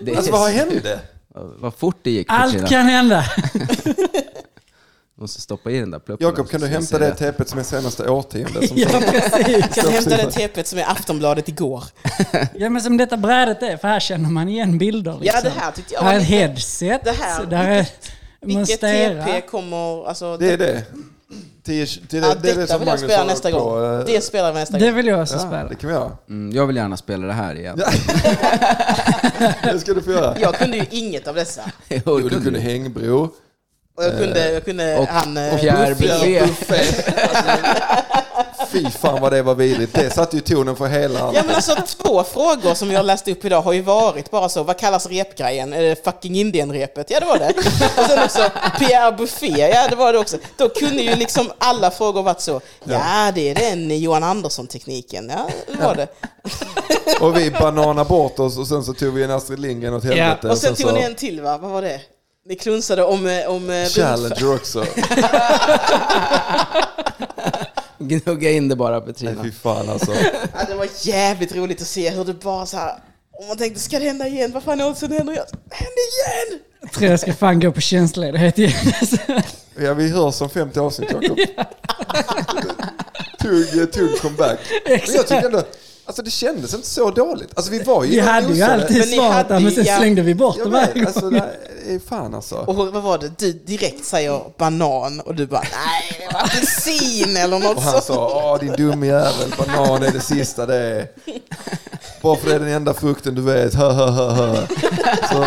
[SPEAKER 5] Det är
[SPEAKER 2] Alltså vad hände?
[SPEAKER 5] Vad fort det gick för
[SPEAKER 3] Allt
[SPEAKER 5] Kina.
[SPEAKER 3] kan hända.
[SPEAKER 5] Måste stoppa i den där pluppen.
[SPEAKER 2] Jakob, kan du hämta det tepet som är senaste årtiondet? Som
[SPEAKER 3] Ja, precis.
[SPEAKER 4] Jag hämtade det tepet som är Aftonbladet igår.
[SPEAKER 3] Ja, men som detta brädet är, för här känner man igen bilder.
[SPEAKER 4] Ja,
[SPEAKER 3] Liksom.
[SPEAKER 4] det här tyckte jag
[SPEAKER 3] Här är
[SPEAKER 4] var
[SPEAKER 3] ett
[SPEAKER 4] lite-
[SPEAKER 3] headset.
[SPEAKER 4] Det här,
[SPEAKER 3] där är
[SPEAKER 4] Vilket
[SPEAKER 3] Monstera.
[SPEAKER 4] TP kommer... Alltså,
[SPEAKER 2] Det är det. Tio, det, är det,
[SPEAKER 4] ja,
[SPEAKER 2] det är det
[SPEAKER 4] detta
[SPEAKER 2] som
[SPEAKER 4] vill jag
[SPEAKER 2] Magnus
[SPEAKER 4] spela
[SPEAKER 2] har
[SPEAKER 4] nästa
[SPEAKER 2] på,
[SPEAKER 4] gång.
[SPEAKER 2] eh,
[SPEAKER 4] Det spelar vi nästa
[SPEAKER 3] Det
[SPEAKER 4] gång.
[SPEAKER 3] vill jag också
[SPEAKER 2] ja,
[SPEAKER 3] spela.
[SPEAKER 2] det kan vi göra.
[SPEAKER 5] Mm, jag vill gärna spela det här igen.
[SPEAKER 2] Det ska du få göra.
[SPEAKER 4] Jag kunde ju inget av dessa.
[SPEAKER 5] Jo,
[SPEAKER 2] Jo, du kunde hängbro.
[SPEAKER 4] Och jag kunde, jag kunde
[SPEAKER 5] och-
[SPEAKER 4] han... eh,
[SPEAKER 5] och Pierre Buffé.
[SPEAKER 2] Fy fan vad det var vidrigt. Det satte ju tonen för hela...
[SPEAKER 4] Ja men alltså två frågor som jag läste upp idag har ju varit bara så, vad kallas repgrejen? Är det fucking Indien-repet? Ja det var det. Och sen också Pierre Buffé, ja det var det också. Då kunde ju liksom alla frågor varit så, ja det är den Johan Andersson-tekniken, ja det var det.
[SPEAKER 2] Och vi banana bort oss och sen så tog vi en Astrid Lindgren åt helvete.
[SPEAKER 4] Och sen tog
[SPEAKER 2] så-
[SPEAKER 4] ni en till va, vad var det? Ni klunsade om, eh, om eh, Rutger.
[SPEAKER 2] Challenger också.
[SPEAKER 5] Gnugga in det bara
[SPEAKER 2] Nej,
[SPEAKER 5] Petrina.
[SPEAKER 2] fy fan alltså.
[SPEAKER 4] ja, Det var jävligt roligt att se hur det bara så här, om man tänkte ska det hända igen? Vad fan oddsen händer igen? Händer igen!
[SPEAKER 3] Jag tror jag ska fan gå på tjänstledighet igen. Alltså,
[SPEAKER 2] Ja, vi hörs om 50 avsnitt Jakob. Tugg, eh, tugg comeback. Men jag tycker ändå, alltså det kändes inte så dåligt. Alltså vi var ju
[SPEAKER 3] Vi hade ju
[SPEAKER 2] osade.
[SPEAKER 3] alltid
[SPEAKER 4] Men ni
[SPEAKER 3] svaret
[SPEAKER 4] hade
[SPEAKER 3] där, men sen
[SPEAKER 4] ju- ja.
[SPEAKER 3] slängde vi bort det
[SPEAKER 2] Jag
[SPEAKER 3] varje
[SPEAKER 2] vet,
[SPEAKER 3] gång.
[SPEAKER 2] alltså det är fan alltså.
[SPEAKER 4] Och hur- vad var det? Du direkt säger banan och du bara nej, det var apelsin eller något
[SPEAKER 2] Och han
[SPEAKER 4] sånt.
[SPEAKER 2] sa, åh din dumme jävel, banan är det sista det är. Bara för det är den enda frukten du vet, hö, hö, hö, hö. Så,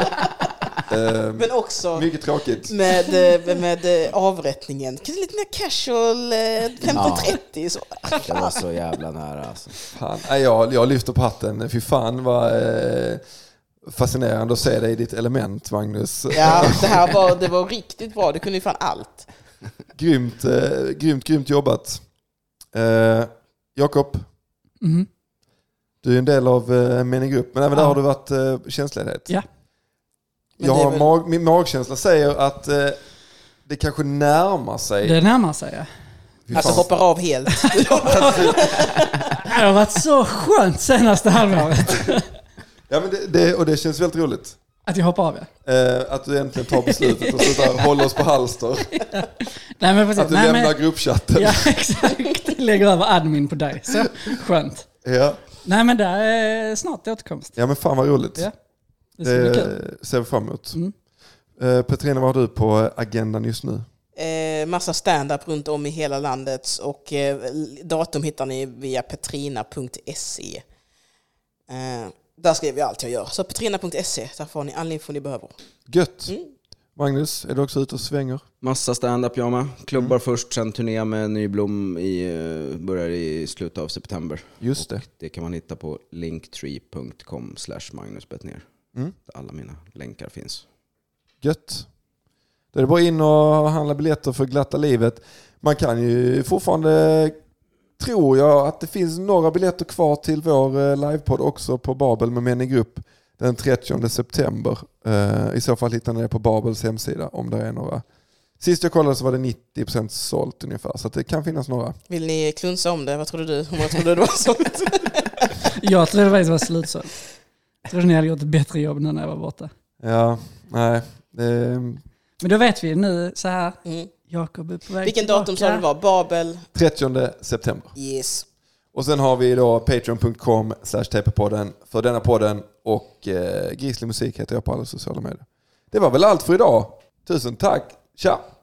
[SPEAKER 2] ehm,
[SPEAKER 4] Men också
[SPEAKER 2] mycket tråkigt.
[SPEAKER 4] med, eh, med eh, avrättningen. Kanske lite mer casual, eh, 15.30 så.
[SPEAKER 5] Det var så jävla nära alltså.
[SPEAKER 2] Fan. Nej, jag, jag lyfter på hatten, fy fan vad eh, fascinerande att se dig i ditt element Magnus.
[SPEAKER 4] Ja, det här var, det var riktigt bra. Du kunde ju fan allt.
[SPEAKER 2] Grymt, eh, grymt, grymt jobbat. Eh, Jakob,
[SPEAKER 3] Mhm.
[SPEAKER 2] du är en del av eh, Män i grupp, men även där
[SPEAKER 3] Ja.
[SPEAKER 2] har du varit eh, tjänstledighet.
[SPEAKER 3] Ja.
[SPEAKER 4] Men
[SPEAKER 2] Jag
[SPEAKER 4] det är
[SPEAKER 2] har
[SPEAKER 4] väl-
[SPEAKER 2] mag, min magkänsla säger att eh, det kanske närmar sig.
[SPEAKER 3] Det närmar sig ja.
[SPEAKER 2] Fy
[SPEAKER 4] Alltså
[SPEAKER 2] fan.
[SPEAKER 4] hoppar av helt.
[SPEAKER 3] Det har varit så skönt senaste halvåret
[SPEAKER 2] ja, men det, det, och det känns väldigt roligt.
[SPEAKER 3] att jag hoppar av ja.
[SPEAKER 2] Eh, att du äntligen tar beslutet och slutar hålla oss på halster.
[SPEAKER 3] Nej men precis.
[SPEAKER 2] Att du
[SPEAKER 3] Nej,
[SPEAKER 2] lämnar
[SPEAKER 3] men,
[SPEAKER 2] gruppchatten.
[SPEAKER 3] ja exakt. Lägger över admin på dig. Så skönt.
[SPEAKER 2] Ja.
[SPEAKER 3] Nej men där är snart återkomst.
[SPEAKER 2] ja, men fan vad roligt.
[SPEAKER 3] Ja. Det ska bli kul.
[SPEAKER 2] Det ser vi fram emot.
[SPEAKER 3] Mm.
[SPEAKER 2] Eh, Petrina, vad har du på eh, agendan just nu?
[SPEAKER 4] Eh, massa stand-up runt om i hela landet och eh, datum hittar ni via petrina.se. Eh, där skriver jag allt jag gör. Så petrina.se, där får ni all info ni behöver.
[SPEAKER 2] Gött.
[SPEAKER 4] Mm.
[SPEAKER 2] Magnus, är du också ute och svänger?
[SPEAKER 5] Massa stand-up jag med. Klubbar
[SPEAKER 2] Mm.
[SPEAKER 5] först, sen turné med Nyblom i, eh, börjar i slutet av september.
[SPEAKER 2] Just det.
[SPEAKER 5] Det kan man hitta på linktree.com slash Magnus Bettner.
[SPEAKER 2] Mm.
[SPEAKER 5] Där Alla mina länkar finns.
[SPEAKER 2] Gött. Då är det bara in och handla biljetter för glatta livet. Man kan ju fortfarande, tror jag, att det finns några biljetter kvar till vår eh, livepodd också på Babel med män i grupp den 30 september. Eh, I så fall hittar ni det på Babels hemsida om det är några. Sist jag kollade så var det 90% sålt ungefär, så att det kan finnas några.
[SPEAKER 4] Vill ni klunsa om det? Vad trodde du? Hur många trodde du det var sånt?
[SPEAKER 3] Jag trodde faktiskt det var slutsålt. Jag trodde ni hade gjort ett bättre jobb nu när jag var borta.
[SPEAKER 2] Ja, nej. Eh,
[SPEAKER 3] Men då vet vi nu så här.
[SPEAKER 4] Mm.
[SPEAKER 3] Jakob är på väg
[SPEAKER 4] Vilken datum sa
[SPEAKER 3] tillbaka.
[SPEAKER 4] du det var? Babel?
[SPEAKER 2] 30 september.
[SPEAKER 4] Yes.
[SPEAKER 2] Och sen har vi då patreon.com slash TP-podden för denna podden och eh, Grislig musik heter jag på alla sociala medier. Det var väl allt för idag. Tusen tack. Tja!